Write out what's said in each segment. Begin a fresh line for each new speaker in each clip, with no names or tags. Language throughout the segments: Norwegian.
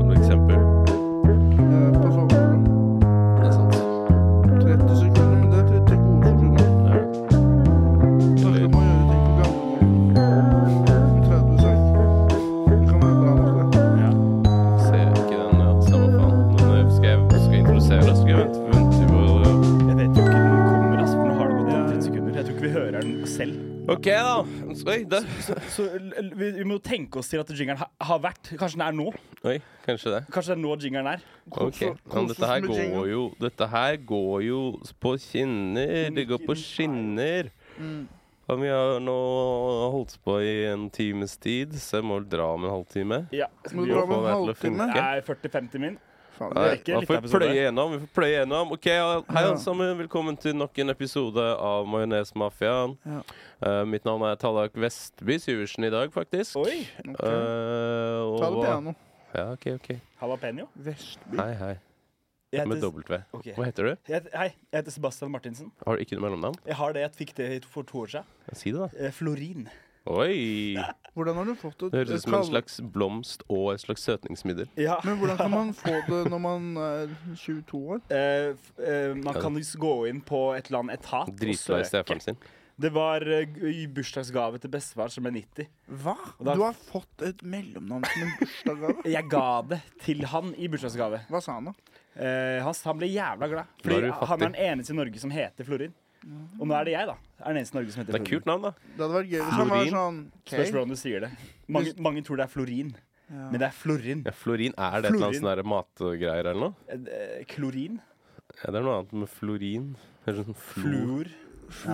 Et eksempel. Det er sant. Det er det. Ja. Ser ikke den, ja. Samme faen. Men eh, skal jeg skal jeg introdusere deg, så skal jeg vente vente eh, på
Jeg vet jo ikke når den kommer, ass, for nå har det gått 30 sekunder. Jeg tror ikke vi hører den selv.
OK, da. Oi, der.
Så l- l- vi, vi må jo tenke oss til at jingeren ha, har vært. Kanskje den er nå.
Oi, kanskje det.
Kanskje det er nå jingeren er.
Ok, men dette her går jo Dette her går jo på skinner. Det går på skinner. Ja, vi har nå holdt på i en times tid, så jeg må vel dra om en halvtime.
Ja.
Må
Vi
dra om
Få det
en
til å
halvtime?
funke.
er 40-50 min.
Faen,
Nei,
det
rekker
da
litt
får vi
episode.
pløye gjennom. Vi får pløye gjennom. Ok, ja, Hei,
Ja.
alle sammen. Velkommen til nok en episode av Majonesmafiaen.
Ja.
Eh, mitt navn er Tallak Vestby Syversen i dag, faktisk.
Oi!
Ok.
Eh, og,
Ta det piano.
Ja, OK, OK.
Jalapeño.
Vestby.
Hei, hei.
Jeg
Med
heter,
W.
Ok.
Hva heter du?
jeg heter, hei, jeg heter Sebastian Martinsen.
Har du ikke noe mellomnavn?
Jeg har det jeg fikk det for to år siden.
Si det, da.
Eh, Florin.
Oi!
Hvordan har du fått et
Det høres ut som en
kall-
slags blomst og et slags søtningsmiddel.
Ja.
Men hvordan kan man få det når man er 22 år?
Eh, f- eh, man kan jo s- gå inn på et eller annet etat og
Dritlei Stefan sin.
Det var eh, g- i bursdagsgave til bestefar som ble 90.
Hva?
Og da-
Du har fått et mellomnavn som en bursdagsgave?
Jeg ga det til han i bursdagsgave.
Hva sa han, da?
Eh, han, s- han ble jævla glad.
Da er
Fordi
du
han er
fattig.
den eneste i Norge som heter Florin. Og nå er det jeg, da. Er den eneste i Norge som heter
Det er
Florin.
kult navn, da.
Det hadde vært gøy hvis han var
Florin.
sånn
Spørs
okay.
hvordan du sier det. Mange, mange tror det er Florin, men det er Florin.
Ja, florin, er det et eller annet
Florin.
sånn der matgreier eller noe?
Eh, klorin.
Ja, det er noe annet med florin. Det er sånn flo-
Fluor.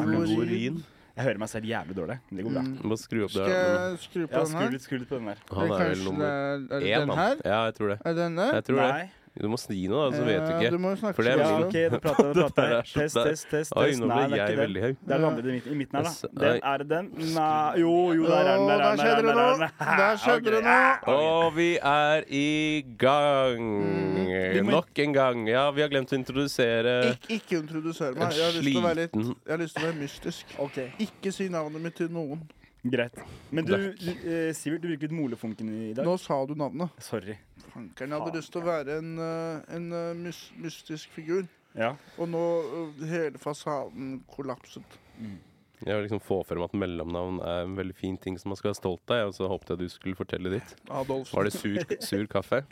Florin.
Jeg hører meg selv jævlig dårlig, men det går bra.
Bare skru opp
Skal
det. her.
jeg skru på
Ja,
den
skru
her?
litt, skru litt Mm. på den der.
Han
Eller
er vel
kanskje
nummer
det er, er det
én,
den
han.
her?
Ja, jeg tror det.
Er det denne?
Jeg tror det.
Nei.
Du må si noe, da, så vet
Eh,
du
Du
ikke.
må jo snakke
For det er
sånn,
Ja,
min.
da.
OK, da prater jeg. da
Dette
prater
er
jeg.
så-
Test,
der.
test, test.
Oi,
test.
nå
Nei,
ble
det er
jeg
ikke den.
veldig høy. Altså,
Det er den andre i midten, i midten her, da.
Nei.
Den er det den. Nei, jo, jo, der er den. Der,
Å,
er den,
skjedde
der,
det
er
nå!
den, der, er den.
Der skjedde det
Ok.
nå!
Og vi er i gang.
må-
Nok en gang. Ja, vi har glemt å introdusere
Mm. Ik ikke
Eh,
introdusere
en
meg. Jeg har lyst til å være litt
sliten-
Jeg har lyst til å være mystisk.
Ok,
Ikke si navnet mitt til noen.
Greit. Men du, du eh, Sivert, du bruker litt molefunken i dag.
Nå sa du navnet.
Sorry.
Fankeren, jeg hadde lyst til å være en, eh, en eh, mys mystisk figur.
Ja.
Og nå eh, hele fasaden kollapset.
Jeg vil liksom få frem at mellomnavn er en veldig fin ting som man skal være stolt av. Og så håpet jeg du skulle fortelle ditt.
Adolfsen.
Var det sur, sur kaffe?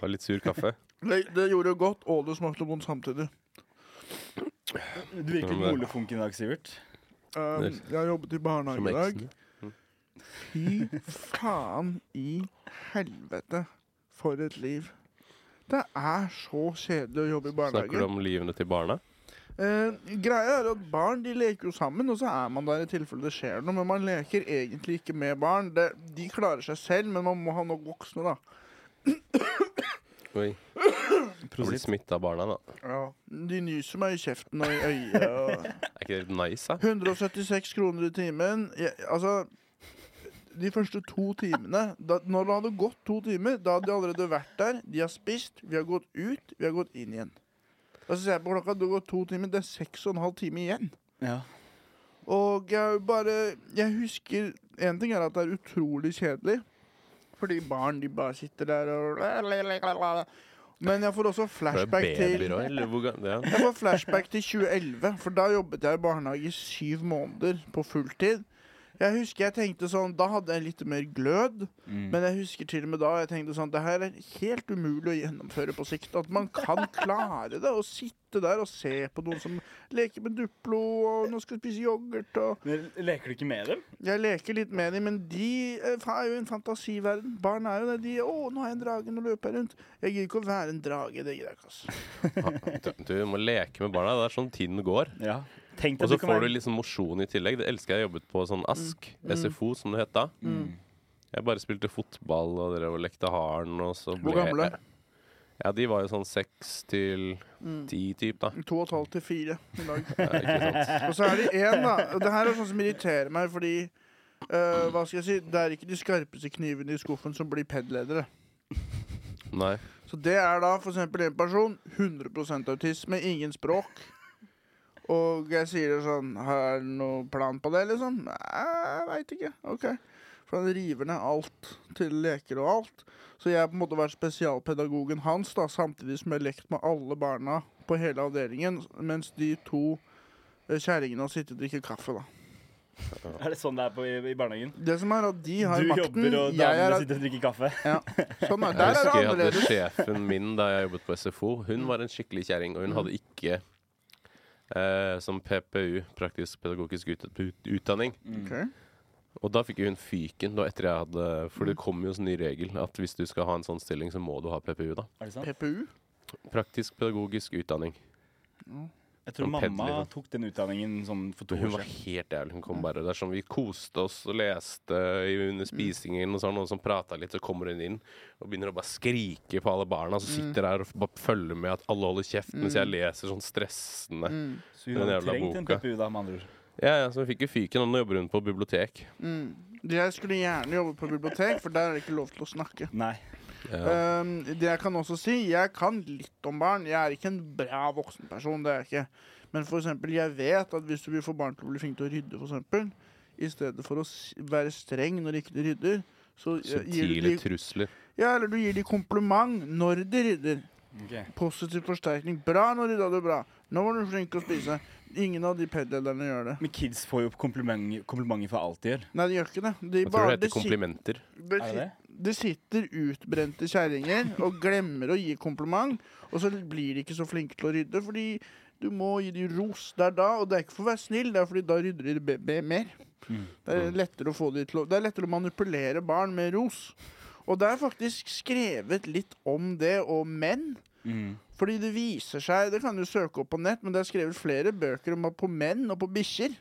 Var det litt sur kaffe?
Det, det gjorde godt, og det smakte vondt samtidig.
Du virker litt
Men-
molefunken i dag, Sivert.
Um,
Det-
jeg jobbet i
Som
barnehage i dag.
eksen.
Fy faen i helvete for et liv. Det er så kjedelig å jobbe i
Snakker du
barnehage.
om livene til barna?
Eh, greia er at barn de leker jo sammen, og så er man der i tilfelle det skjer noe. Men man leker egentlig ikke med barn. Det, de klarer seg selv, men man må ha nok voksne, da.
Oi. Har blitt smitta av barna, da.
De nyser meg i kjeften og i øyet. Og
Er ikke det nice, da?
176 kroner i timen. Jeg, altså De første to timene da, Når det hadde gått to timer, da hadde de allerede vært der. De har spist, vi har gått ut, vi har gått inn igjen. Da ser jeg på klokka, det har gått to timer. Det er seks og en halv time igjen.
Ja.
Og jeg bare Jeg husker En ting er at det er utrolig kjedelig. Fordi barn, de bare sitter der og Men jeg får også
Er det
flashback til
babyer òg, eller? Hvor ga- ja.
jeg får flashback til 2011, for da jobbet jeg i barnehage i syv måneder på fulltid. Jeg husker jeg tenkte sånn, Da hadde jeg litt mer glød, men jeg husker til og med da jeg tenkte sånn, det her er helt umulig å gjennomføre på sikt. At man kan klare det. Å sitte der og se på noen som leker med Duplo og nå skal spise yoghurt og
Men leker du ikke med dem?
Jeg leker litt med dem, men de eh, fa- er jo i en fantasiverden. Barn er jo det. De 'Å, nå har jeg en drage, nå løper jeg rundt'. Jeg gidder ikke å være en drage. Det gidder jeg ikke, altså.
Du, du må leke med barna. Det er sånn tiden går.
Ja. Tenk
Og
at
så
du kan
får du
være
liksom mosjon i tillegg. Det elsker jeg. Jeg jobbet på
Mm.
sånn ASK, SFO, som det het da. Jeg bare spilte fotball og drev og lekte harn, og så ble
Hvor gamle?
Jeg, Ja, de var jo sånn seks til
Mm.
ti typ, da.
To og et halvt til fire i dag.
Ja, ikke sant?
Og så er det én, da. og Det her er sånn som irriterer meg, fordi eh, Hva skal jeg si? Det er ikke de skarpeste knivene i skuffen som blir PED-ledere.
Nei.
Så det er da for eksempel en person, 100 autisme, ingen språk. Og jeg sier det sånn Har du noen plan på det, liksom? Nei, jeg veit ikke. OK. For han river ned alt til leker og alt. Så jeg har på en måte vært spesialpedagogen hans, da, samtidig som jeg har lekt med alle barna på hele avdelingen, mens de to eh, kjerringene har sittet og drikket kaffe, da.
Er det sånn det er på, i, i barnehagen?
Det som er at de har
Du
makten.
jobber, og
jeg
damene
er,
sitter og drikker kaffe.
sånn er,
Jeg
der er
husker
det
jeg hadde
annerledes. Mm.
sjefen min da jeg jobbet på SFO. Hun var en skikkelig kjerring, og hun hadde ikke eh, som PPU, praktisk pedagogisk ut- ut- utdanning.
Ok.
Og da fikk jo hun fyken, da etter jeg hadde For
Mm.
det kom jo en sånn ny regel at hvis du skal ha en sånn stilling, så må du ha PPU, da.
Er det sant?
PPU?
Praktisk pedagogisk utdanning.
Jeg tror
Som pedler,
mamma
liksom.
tok den utdanningen sånn for to
Hun
år
var
siden.
helt jævlig. Hun kom bare der som vi koste oss og leste i- under
Mm.
spisingen, og så var det noen som prata litt, så kommer hun inn og begynner å bare skrike på alle barna, så
Mm.
sitter der og f- bare følger med at alle holder kjeft mens jeg leser sånn stressende.
Mm.
Så hun
Den
hadde
jævla
trengt en
boka.
PPU, da, med andre ord.
Ja, ja, så hun fikk jo fyken, og nå jobber hun på bibliotek.
Jeg skulle gjerne jobbe på bibliotek, for der er det ikke lov til å snakke.
Nei.
Ja.
Um, det jeg kan også si, jeg kan litt om barn. Jeg er ikke en bra voksenperson. det er jeg ikke. Men for eksempel, jeg vet at hvis du vil få barn til å bli flinke til å rydde, for eksempel, i stedet for å s- være streng når ikke de rydder, så eh, gir du
Subtile
de,
trusler.
ja, eller du gir de kompliment når de rydder.
Ok.
Positiv forsterkning. Bra, nå rydda du bra. Nå var du flink til å spise. Ingen av de pedlederne gjør det.
Men kids får jo komplimenter, komplimenter for alt de gjør.
Nei, de gjør ikke det. De
Jeg tror
bare
det heter
sit-
komplimenter.
Det,
Er det det?
sit, det sitter utbrente kjerringer og glemmer å gi kompliment, og så blir de ikke så flinke til å rydde, fordi du må gi dem ros der da, og det er ikke for å være snill, det er fordi da rydder de be be mer.
Mm.
Det er lettere å få de til å Det er lettere å manipulere barn med ros. Og det er faktisk skrevet litt om det, og menn.
Mm.
Fordi det viser seg Det kan du søke opp på nett, men det er skrevet flere bøker om at på menn og på bikkjer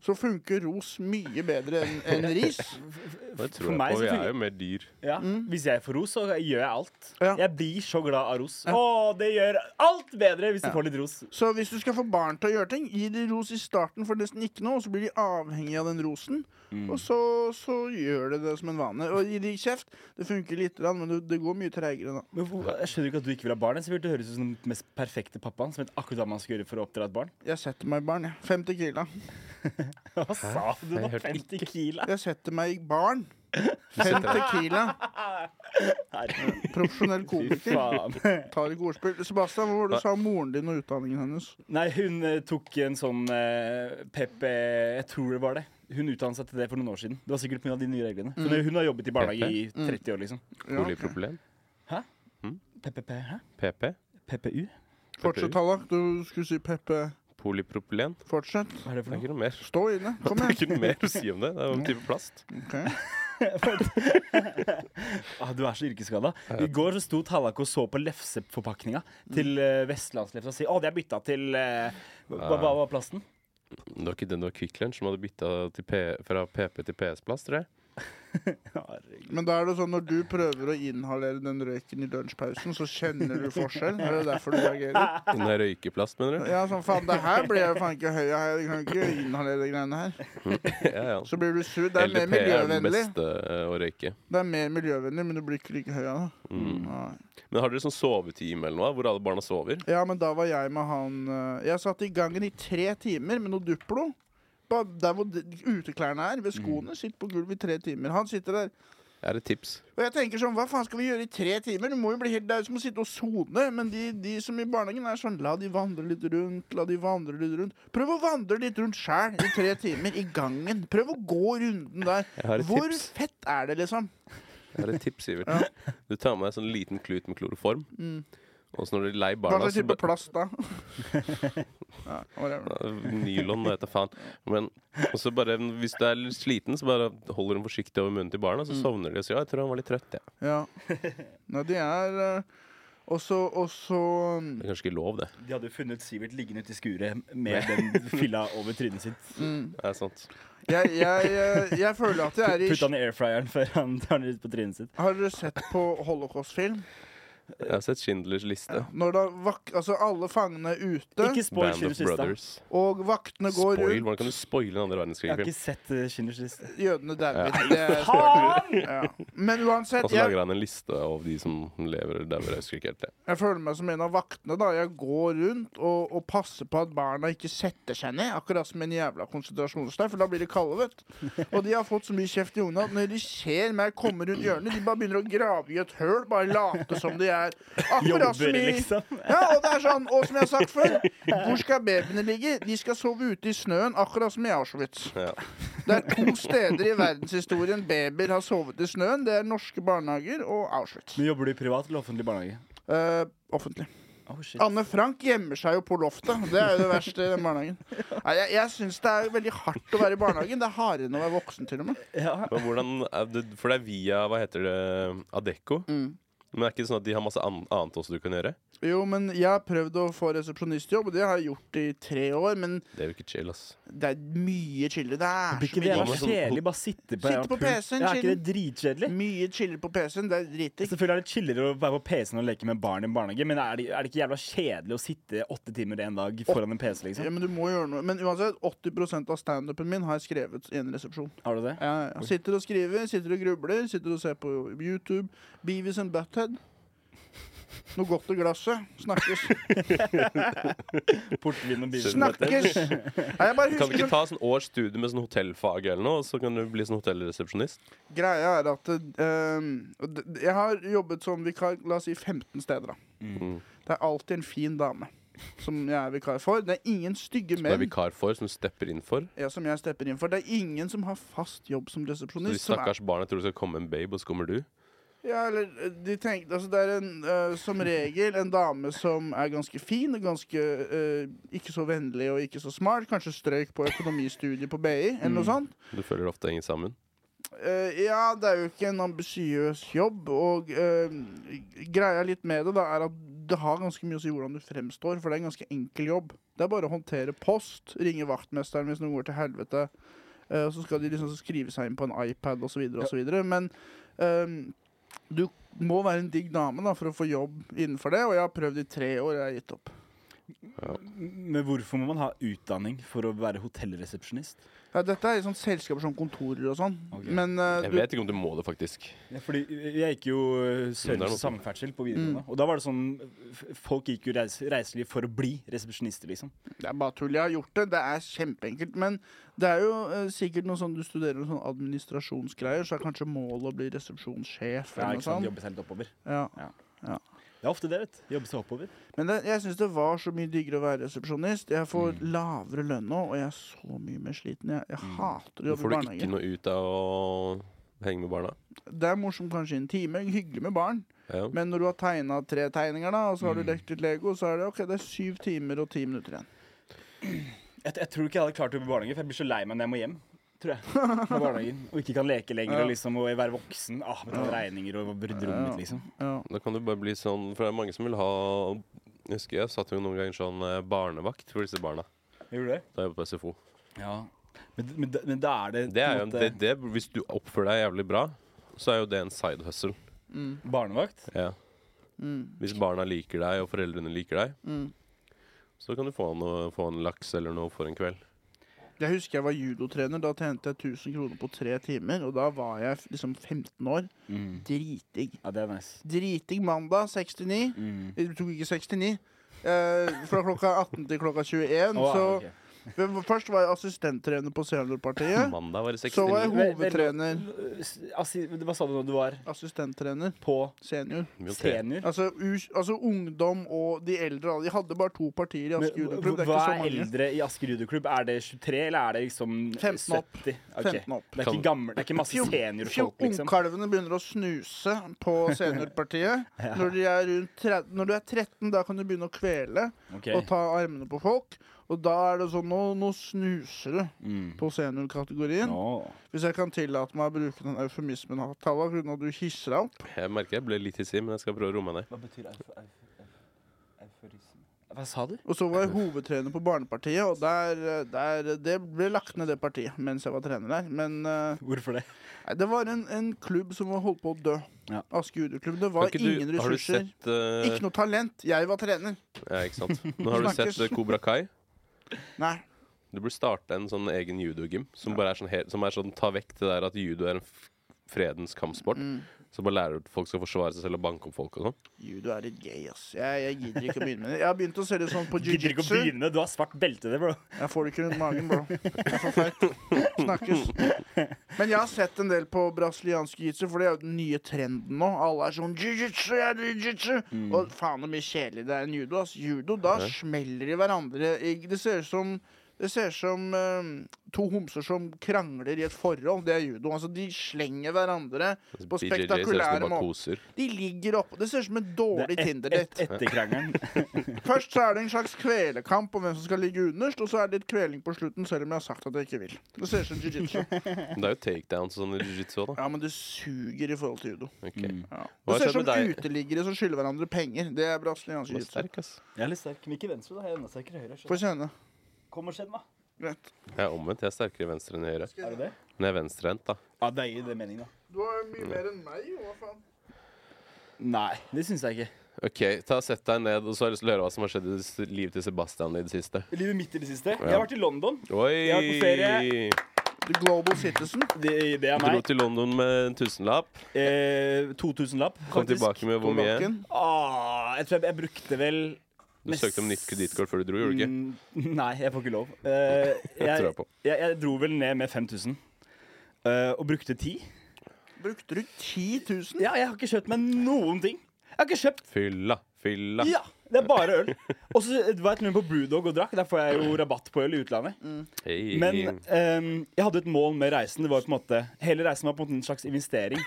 så funker ros mye bedre enn enn ris.
Det tror
for
jeg
meg
på.
så
Vi
fungerer-
er jo mer dyr.
Ja. Hvis jeg får ros, så gjør jeg alt.
Ja.
Jeg blir så glad av ros. Å, det gjør alt bedre hvis du får litt ros.
Så hvis du skal få barn til å gjøre ting, gi de ros i starten for nesten ikke noe, og så blir de avhengig av den rosen.
Mm.
Og så, så gjør de det som en vane. Og gi de kjeft. Det funker lite grann, men det, det går mye treigere da.
Men hvor, jeg skjønner ikke at du ikke vil ha barn. Jeg det høres ut som den mest perfekte pappaen som vet akkurat hva man skal gjøre for å oppdra et barn.
Jeg setter meg i barn, jeg. 50 kila.
Hva sa du nå?
Jeg hørte
50 kila?
Jeg setter meg i barn. 50 kila.
Herregud,
Profesjonell
Fy
komiker.
faen.
Tar ikke ordspill. Sebastian, hva var det du sa om moren din og utdanningen hennes?
Nei, hun eh, tok en sånn eh, Pepe Jeg tror det var det. Hun utdannet seg til det for noen år siden. Det var sikkert pga. de nye reglene. Så det- hun har jobbet i barnehage i 30 år, liksom.
Ja, ok.
Boligproblem.
PPP, hæ?
PP.
PPU?
Fortsett, Tallak. Du skulle si Peppe.
Polypropylen.
Fortsett.
Hva er det
Det
for
er
noe?
ikke noe mer.
Stå inne. Kom
Det er
igjen.
ikke noe mer å si om det. Det er jo en type plast.
Ok.
Ah, du er så yrkesskada. I går så sto Tallak og så på lefseforpakninga til eh, Vestlandslefsa og sa å, det er bytta til eh, Hva hva var plasten?
Det var ikke den det var Kvikk Lunsj som hadde bytta til P- fra PP til PS-plass, tror jeg.
Herregud.
Men da er det sånn når du prøver å inhalere den røyken i lunsjpausen, så kjenner du forskjell? Er det derfor du reagerer?
Den der røykeplast, mener du?
Ja, sånn faen, det her blir jeg faen ikke høy av, jeg kan ikke inhalere de greiene her.
Ja, ja.
Så blir du sur. Det er mer
LDP Mm. er den
miljøvennlig,
beste eh, å røyke.
Det er mer miljøvennlig, men du blir ikke like høy av det.
Mm.
Nei.
Men har dere sånn sovetime eller noe, hvor alle barna sover?
Ja, men da var jeg med han eh, Jeg satt i gangen i tre timer med noe Duplo. Ba- Der hvor de- uteklærne er, ved skoene. Sitter på gulvet i tre timer. Han sitter der.
Er det tips?
Og jeg tenker sånn, hva faen skal vi gjøre i tre timer? Du må jo bli helt, Det er jo som å sitte og sone. Men de, de som i barnehagen er sånn, la de vandre litt rundt, la de vandre litt rundt. Prøv å vandre litt rundt sjæl i tre timer, i gangen. Prøv å gå runden der.
Jeg har et
Hvor
tips.
fett er det, liksom?
Jeg har et tips, Sivert. Du tar med en sånn liten klut med kloroform.
Mm.
Og så når du er lei
Hva
barna
slags
så
type
ba-
plast da? ja, whatever.
Eh, Nylon, jeg vet da faen. Men og så bare, hvis du er litt sliten, så bare holder hun forsiktig over munnen til barna,
Mm.
så sovner de og sier ja, 'jeg tror han var litt trøtt', jeg. Ja.
ja. Nei, de er eh, også, også mm,
Det er kanskje ikke lov, det.
De hadde jo funnet Sivert liggende ute i skuret med den filla over trynet sitt.
det er sant.
jeg, jeg, eh, jeg føler at jeg er i
Putta han i airfryeren før han tar den ut på trynet sitt.
Har dere sett på holocaust-film?
Jeg har sett Schindlers liste.
Når da vak altså alle fangene er ute,
Ikke spoil
Band of
Schindlers liste.
Brothers.
og vaktene går
Spoil? Hvordan
rundt
kan du spoile en
Jeg
andre
har
verdenskrig-film?
ikke sett eh, Schindlers liste.
Jødene dauer.
Ja.
Det er
Faen!
ja. Men
Og så
uansett, jeg,
lager han en liste av de som lever og dauer. Jeg husker ikke helt det.
jeg føler meg som en av vaktene. da Jeg går rundt og, og passer på at barna ikke setter seg ned. Akkurat som en jævla konsentrasjonsleir, for da blir de kalde, vet du. Og de har fått så mye kjeft i ungene at når de ser meg komme rundt hjørnet, de bare begynner å grave i et høl. Bare late som de er akkurat som
Jobber,
i
liksom.
Ja, og det er sånn, og som jeg har sagt før, hvor skal babyene ligge? De skal sove ute i snøen, akkurat som i Auschwitz.
Ja.
Det er to steder i verdenshistorien babyer har sovet i snøen. Det er norske barnehager og Auschwitz.
Men jobber du i privat eller offentlig barnehage?
Eh, offentlig.
Oh, shit.
Anne Frank gjemmer seg jo på loftet. Det er jo det verste i den barnehagen. Nei, jeg jeg syns det er veldig hardt å være i barnehagen. Det er hardere enn å være voksen, til og med.
Ja.
Men hvordan er det, For det er via hva heter det, Adecco.
Mm.
Men det er ikke sånn at de har masse an annet også du kan gjøre?
Jo, men jeg har prøvd å få resepsjonistjobb, og det har jeg gjort i tre år. Men
Det er jo ikke chill, ass.
det er mye chillere. Det er
Blir
så
ikke det
mye
jævla
jævla
sånn-
kjedelig? Bare sitte på,
Sitte
jævla
på
pult?
PC-en,
Ja, Er ikke det
chill.
dritkjedelig?
Mye chillere på PC-en. Det er dritdigg.
Selvfølgelig er det chillere å være på PC-en og leke med barn i barnehage, men er det, er det ikke jævla kjedelig å sitte åtte timer en dag foran en PC,
Ja,
liksom?
men du må gjøre noe. Men uansett, 80 av standupen min har jeg skrevet i en resepsjon.
Har du det?
Ja, ja. Sitter og skriver, sitter og grubler, sitter og ser på YouTube. Beavis and Butthead. Noe godt i glasset. Snakkes.
Portvin og bilmøter?
Snakkes! Nei,
Kan
jeg bare
du
husker
ikke
sånn,
ta sånn års studie med sånn hotellfag eller noe, og så kan du bli sånn hotellresepsjonist?
Greia er at eh, og d- Jeg har jobbet som vikar la oss si 15 steder. da
Mm.
Det er alltid en fin dame som jeg er vikar for. Det er ingen stygge
Som du er
menn
vikar for, som du stepper inn for?
ja, som jeg stepper inn for. Det er ingen som har fast jobb som
Så de
resepsjonist. som er
stakkars barna tror det skal komme en babe, og så kommer du?
Ja, eller eh, de tenkte Altså, det er en, eh, som regel en dame som er ganske fin, og ganske eh, ikke så vennlig og ikke så smart. Kanskje strøyk på økonomistudiet på BI, eller
Mm.
noe sånt.
Du føler ofte henger sammen.
Eh, ja, det er jo ikke en ambisiøs jobb, og eh, greia litt med det da er at det har ganske mye å si hvordan du fremstår, for det er en ganske enkel jobb. Det er bare å håndtere post, ringe vaktmesteren hvis noe går til helvete, eh, og så skal de liksom skrive seg inn på en iPad osv., osv. Men eh, du må være en digg dame da for å få jobb innenfor det, og jeg har prøvd i tre år, og jeg har gitt opp.
Men hvorfor må man ha utdanning for å være hotellresepsjonist?
Ja, dette er i sånn selskaper som kontorer og sånn,
Ok.
men eh,
Jeg
du,
vet ikke om du må det, faktisk.
Ja, Fordi jeg gikk jo eh,
Men det er
service og
noe-
samferdsel på videregående. Og da var det sånn f- Folk gikk jo reis- reiseliv for å bli resepsjonister, liksom.
Det er bare tull. Jeg har gjort det. Det er kjempeenkelt. Men det er jo eh, sikkert noe sånn du studerer noe sånn administrasjonsgreier, så er kanskje målet å bli resepsjonssjef
Ja,
eller
ikke sånn
noe
sant?
sånt.
Jobbe seg litt oppover.
Ja.
Det er ofte det, vet du. Jobbe seg oppover.
Men det, jeg syns det var så mye diggere å være resepsjonist. Jeg får lavere lønn nå, og jeg er så mye mer sliten. Jeg, jeg hater å
Da
jobbe i
får du ikke
barnehage.
noe ut av å henge med barna.
Det er morsomt kanskje i en time, hyggelig med barn,
Ja.
men når du har tegna tre tegninger, da, og så har du lekt litt Lego, så er det OK, det er syv timer og ti minutter igjen.
Jeg, jeg tror ikke jeg hadde klart å jobbe i barnehage, for jeg blir så lei meg når jeg må hjem. Tror jeg. Fra barnehagen. Og ikke kan leke lenger og liksom og være voksen. Ah, betale regninger og brydde rommet mitt, liksom.
Ja.
Da kan du bare bli sånn, for det er mange som vil ha Jeg husker jeg satt jo noen ganger sånn eh, barnevakt for disse barna
Gjorde du det?
da jeg jobbet på SFO.
Ja. Men, men, da- men da er det,
Det er jo,
på en
det,
måte,
det, hvis du oppfører deg jævlig bra, så er jo det en side hustle.
barnevakt.
Ja.
Mm.
Hvis barna liker deg, og foreldrene liker deg, så kan du få en, få en laks eller noe for en kveld.
Jeg husker jeg var judotrener. Da tjente jeg 1000 kroner på tre timer. Og da var jeg f- liksom 15 år. Mm. Driting.
Ja, det er nice.
Driting mandag 69.
Mm.
Jeg tok ikke 69. Eh, fra klokka 18 til klokka 21.
Å,
så
ja, ok.
Men Først var jeg assistenttrener på Seniorpartiet.
Mandag var det
Så var jeg
69.
hovedtrener.
Altså, hva sa du nå? Du var
Assistenttrener.
på
Senior.
Mye å te.
senior?
Altså, u altså ungdom og de eldre. da. De hadde bare to partier i
Men
Asker Judoklubb. Det er
Hva
ikke så
er
mange.
eldre i Asker judoklubb? Er det 23, eller er det liksom
15 opp.
70? Ok.
15 opp.
Det er ikke gamle, det er ikke masse
Fjor-
seniorfolk,
fjor-
liksom?
Ungkalvene begynner å snuse på seniorpartiet. når, de er rundt tre, når du er 13, da kan du begynne å kvele
Ok.
og ta armene på folk. Og da er det sånn Nå, nå snuser du
Mm.
på seniorkategorien.
Nå.
Hvis jeg kan tillate meg å bruke den eufemismen, Talla, grunn av at du hisser deg opp.
Jeg merker jeg ble litt hissig, men jeg skal prøve å roe meg ned.
Hva betyr euforisme? Hva sa du?
Og så var jeg hovedtrener på Barnepartiet, og der, der Det ble lagt ned, det partiet, mens jeg var trener der. Men eh,
Hvorfor det?
nei, det var en, en klubb som var holdt på å dø.
Ja.
Aske judeklubb.
Kan
Det var
ikke
ingen
du, har du
ressurser.
sett eh,
Ikke noe talent. Jeg var trener.
Ja, ikke sant. Men har du sett eh, Cobra Kai?
Nei.
Du burde starte en sånn egen judogym som bare er sånn, helt, som er sånn ta vekk det der at judo er en f- fredens kampsport.
Mm.
Så bare lærer du at folk skal forsvare seg selv og banke opp folk og sånn.
Judo er litt gay, ass. Jeg, jeg gidder ikke å begynne med det. Jeg har begynt å se det sånn på
Gidder ikke å
jiu-jitsu.
begynne. Du har svart belte, det, bro.
Jeg får det ikke rundt magen, bro. Jeg er for feit. Snakkes. Men jeg har sett en del på brasiliansk jiu-jitsu, for det er jo den nye trenden nå. Alle er sånn jiu-jitsu, jeg er jiu-jitsu. Og faen så mye kjedelig det er enn judo. Ass. Judo, da
Mm. Ja.
smeller de hverandre. i- Det ser ut som det ser ut som eh, to homser som krangler i et forhold. Det er judo. Altså, de slenger hverandre
BJJ ser ut som
på
de
spektakulære
bare
måter.
koser.
De ligger oppå. Det ser ut som en dårlig Tinder-date.
etter krangelen.
Først så er det en slags kvelekamp om hvem som skal ligge underst, og så er det litt kveling på slutten, selv om jeg har sagt at jeg ikke vil. Det ser ut som jiu-jitsu.
Men Det er jo takedowns og sånn i jiu-jitsu òg, da.
Ja, men det suger i forhold til judo.
Ok.
Ja. Mm.
Hva
Det ser
skjer
ut som
med deg?
uteliggere som skylder hverandre penger. Det er brasiliansk
Du er
jiu-jitsu.
sterk, ass.
Jeg er litt sterk, men ikke venstre. da. Jeg er enda sterkere høyre.
Få
skjønner
kjenne.
du. Kom og skjenn, da.
Greit.
Jeg er omvendt. Jeg er sterkere i venstre enn i høyre.
Er du det?
Men jeg er venstrehendt, da.
Ja, det gir det mening, da.
Du har jo mye mer enn meg, jo. Hva faen?
Nei, det syns jeg ikke.
OK, ta og sett deg ned, og så har jeg lyst til å høre hva som har skjedd i s- livet til Sebastian i det siste.
Livet mitt i det siste. Jeg har vært i London. Jeg har vært på
Oi!
ferie.
The Global Citizen.
Det, det er
Dro
meg.
til London med en tusenlapp.
Eh, 2000-lapp,
Kom
faktisk.
tilbake med
På
hvor mye.
nakken.
Ah, jeg tror jeg, jeg brukte vel
Du søkte om nytt kredittkort før du dro, gjorde du ikke?
Mm, Nei, jeg får ikke lov. Eh,
tror
jeg,
jeg på.
jeg, jeg dro vel ned med 5000. eh, og brukte 10.
Brukte du 10 000?
Ja, jeg har ikke kjøpt meg noen ting. Jeg har ikke kjøpt
Fylla, fylla.
Ja, Det er bare øl. Og så var jeg til og med på Brewdog og drakk. Der får jeg jo rabatt på øl i utlandet.
Mm. Hei.
Men ehm, jeg hadde et mål med reisen. Det var på en måte, hele reisen var på en måte en slags investering.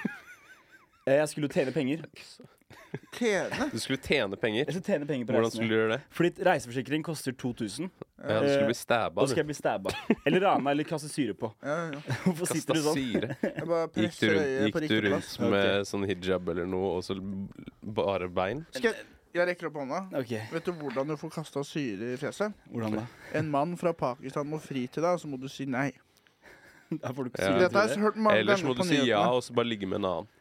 Eh, Jeg skulle jo tjene penger.
Tjene?
Du skulle tjene penger.
Jeg skulle tjene penger på
Hvordan
reisene.
skulle du gjøre det?
Fordi reiseforsikring koster 2000.
Ja, du skulle bli
Da
stabba.
skal jeg bli stabba. Eller rana eller kaste syre på.
Ja, ja.
Hvorfor
Kasta
sitter du sånn?
syre.
Jeg bare
Gikk du
presser
rundt,
øyet
gikk
på
du
riktig plass.
rundt med sånn hijab eller noe, og så l- bare bein?
Skal jeg, jeg rekker opp hånda.
Ok,
Vet du hvordan du får kasta syre i fjeset?
hvordan da?
En mann fra Pakistan må fri til deg, og så må du si nei.
Da får du ikke
Ja.
syre
Dette
til
har jeg
det.
hørt mange
Ellers
ganger
må du
på
si ja,
nyhetene.
og så bare ligge med en annen.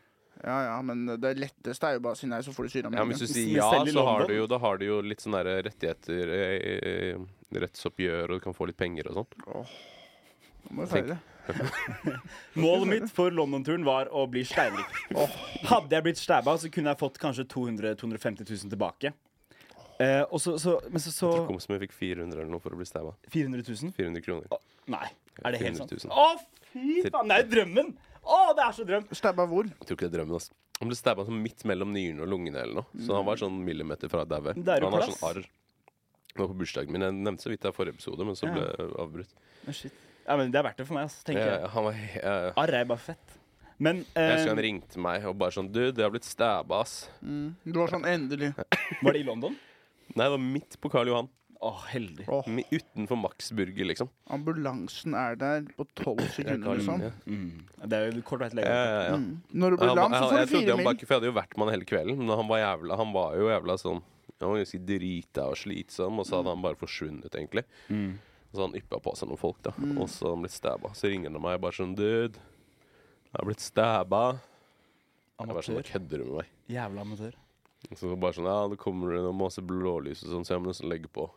Ja, ja, men det letteste er jo bare å si nei, så får du syra
Ja,
med
men
en
Hvis du
gang.
Men
sier ja,
selv i
så har
London?
du jo, da har du jo litt sånne der rettigheter, eh, eh, rettsoppgjør, og du kan få litt penger og sånn.
Nå må du feire.
Målet mitt for London-turen var å bli steinrik. Hadde jeg blitt stabba, så kunne jeg fått kanskje 200 250 000 tilbake. Eh, og så, så, men så, så
Kompisen min fikk 400 eller noe for å bli stabba.
400 000?
400 kroner.
Nei. Er det helt sant?
400 000.
Å, fy faen! Det er jo drømmen! Å, det er så drøm!
Stabba hvor?
Jeg tror ikke det er drømmen, ass. Han ble stabba sånn midt mellom nyrene og lungene eller noe. Så han var sånn millimeter fra å daue.
Det er jo
Han har
plass.
sånn arr. Det var på bursdagen min. Jeg nevnte så vidt det i forrige episode, men så
Ja.
ble jeg avbrutt.
Å, shit. Ja, men det er verdt det for meg, altså, tenker jeg.
Jeg, han var, he- jeg,
Arr er bare fett. Men
jeg
eh,
husker han ringte meg og bare sånn Du, det har blitt stabba, ass.
Du var sånn endelig.
var det i London?
Nei, det var midt på Karl Johan.
Å, heldig.
Åh,
Mi- Utenfor Max Burger, liksom.
ambulansen er der på tolv
Jeg,
sekunder,
Karl,
liksom.
ja.
Mm. Det er jo kort vei til legen.
Ja, ja, ja.
Når du blir
Han,
lam, så
han,
får
jeg
du
trodde
fire
han bare
mil.
ikke For jeg hadde jo vært med han hele kvelden, men han var, jævla, han var jo jævla sånn Han var ganske drita og slitsom, og så hadde han bare forsvunnet, egentlig.
Mm.
Og så hadde han yppa på seg noen folk, da. Og så hadde han blitt stabba. Så ringer han meg og bare sånn Dude, jeg har blitt stabba. Jeg bare sånn,
Amatør.
da kødder du med meg.
Jævla amatør.
Og så bare sånn Ja, det kommer det noe masse blålys og sånn, så jeg må nesten legge på.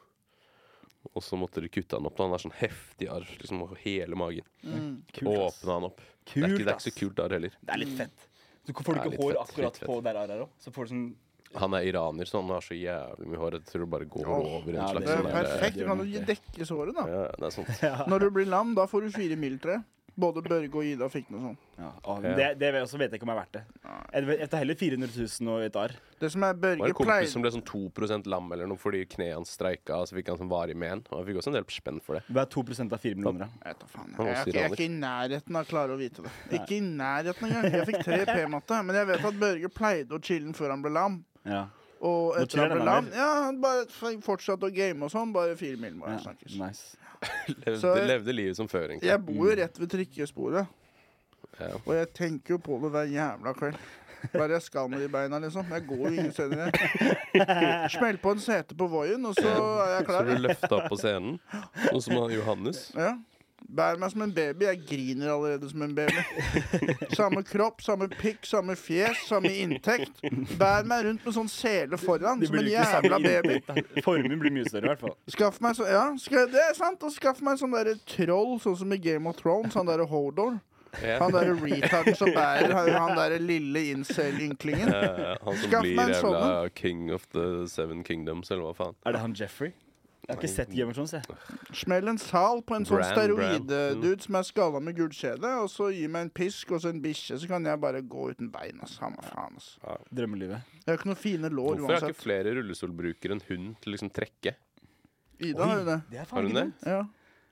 Og så måtte de kutte han opp. da Han er sånn heftig arr liksom over hele magen.
Kult, ass.
Åpna han opp. det, er
Kult,
ikke, det er ikke
ass.
så kult arr heller.
Det er litt fett. Så får du
Det er
ikke
litt
hår
fett,
akkurat
litt
på der arret er òg. Så får du sånn
Han er iraner, så han har så jævlig mye hår. Jeg tror det bare går
Åh,
over en
ja,
slags
Det er
sånn der-
perfekt. Du kan jo dekke såret, da.
Ja, det er sånn.
Når du blir lam, da får du fire mil, tror jeg. Både Børge og Ida fikk noe sånt.
ja, å, Det, det vet jeg også vet jeg ikke om er verdt det. Jeg vet- jeg tar heller 400 000 og et arr.
Det som er
Det var
Børge
en
pleier
kompis som ble sånn 2 lam eller noe fordi kneet hans streika. Så fikk han sånn varig men. Og han fikk også en del spenn for det.
Hva er 2 av 4 millioner? da?
Jeg vet da faen,
Han
jeg,
var
er ikke- jeg er
iraner.
ikke i nærheten av å klare å vite det. Ikke i nærheten engang. Jeg fikk tre p-matte, men jeg vet at Børge pleide å chille før han ble lam.
Ja.
Og
Nå
etter han
chiller
ble
han
lam
mer.
Ja, han bare f- fortsatte å game og sånn. Bare fire mil må
ja.
jeg snakkes.
Nice.
Levde,
Så-
levde livet som før, egentlig.
Jeg bor jo rett ved trikkesporet,
Ja.
og jeg tenker jo på det hver jævla kveld. Hva er det jeg skal med de beina, liksom? Jeg går jo ingen steder. jeg. Smell på en sete på Voien, og så er
Så
jeg klar.
du løfta opp på scenen, sånn som han Johannes.
Ja. Bær meg som en baby. Jeg griner allerede som en baby. Samme kropp, samme pikk, samme fjes, samme inntekt. Bær meg rundt med sånn sele foran, som en jævla baby.
Formen blir mye større, i hvert fall.
Skaff meg så, ja, ska, det er sant. Og skaff meg en sånn derre troll, sånn som i Game of Thrones, han derre Hodor.
Ja.
Han derre retarden som bærer han, han derre lille incel-ynklingen.
Eh, han som
Skaff
blir
meg en
jævla king of the seven kingdoms, eller hva faen.
Er det han Jeffrey? Jeg har ikke sett Game of Thrones, jeg.
Smell en sal på en sånn
Bran, Bran.
steroid-dude som er skalla med gullkjede, og så gi meg en pisk og så en bikkje, så kan jeg bare gå uten bein. ass. Samme faen, ass.
Drømmelivet.
Jeg har ikke noen fine lår
Hvorfor har
uansett.
ikke flere rullestolbrukere en hund til å liksom trekke?
Ida har jo det.
Det er
Har
faen
hun
ikke
det?
dumt.
Ja.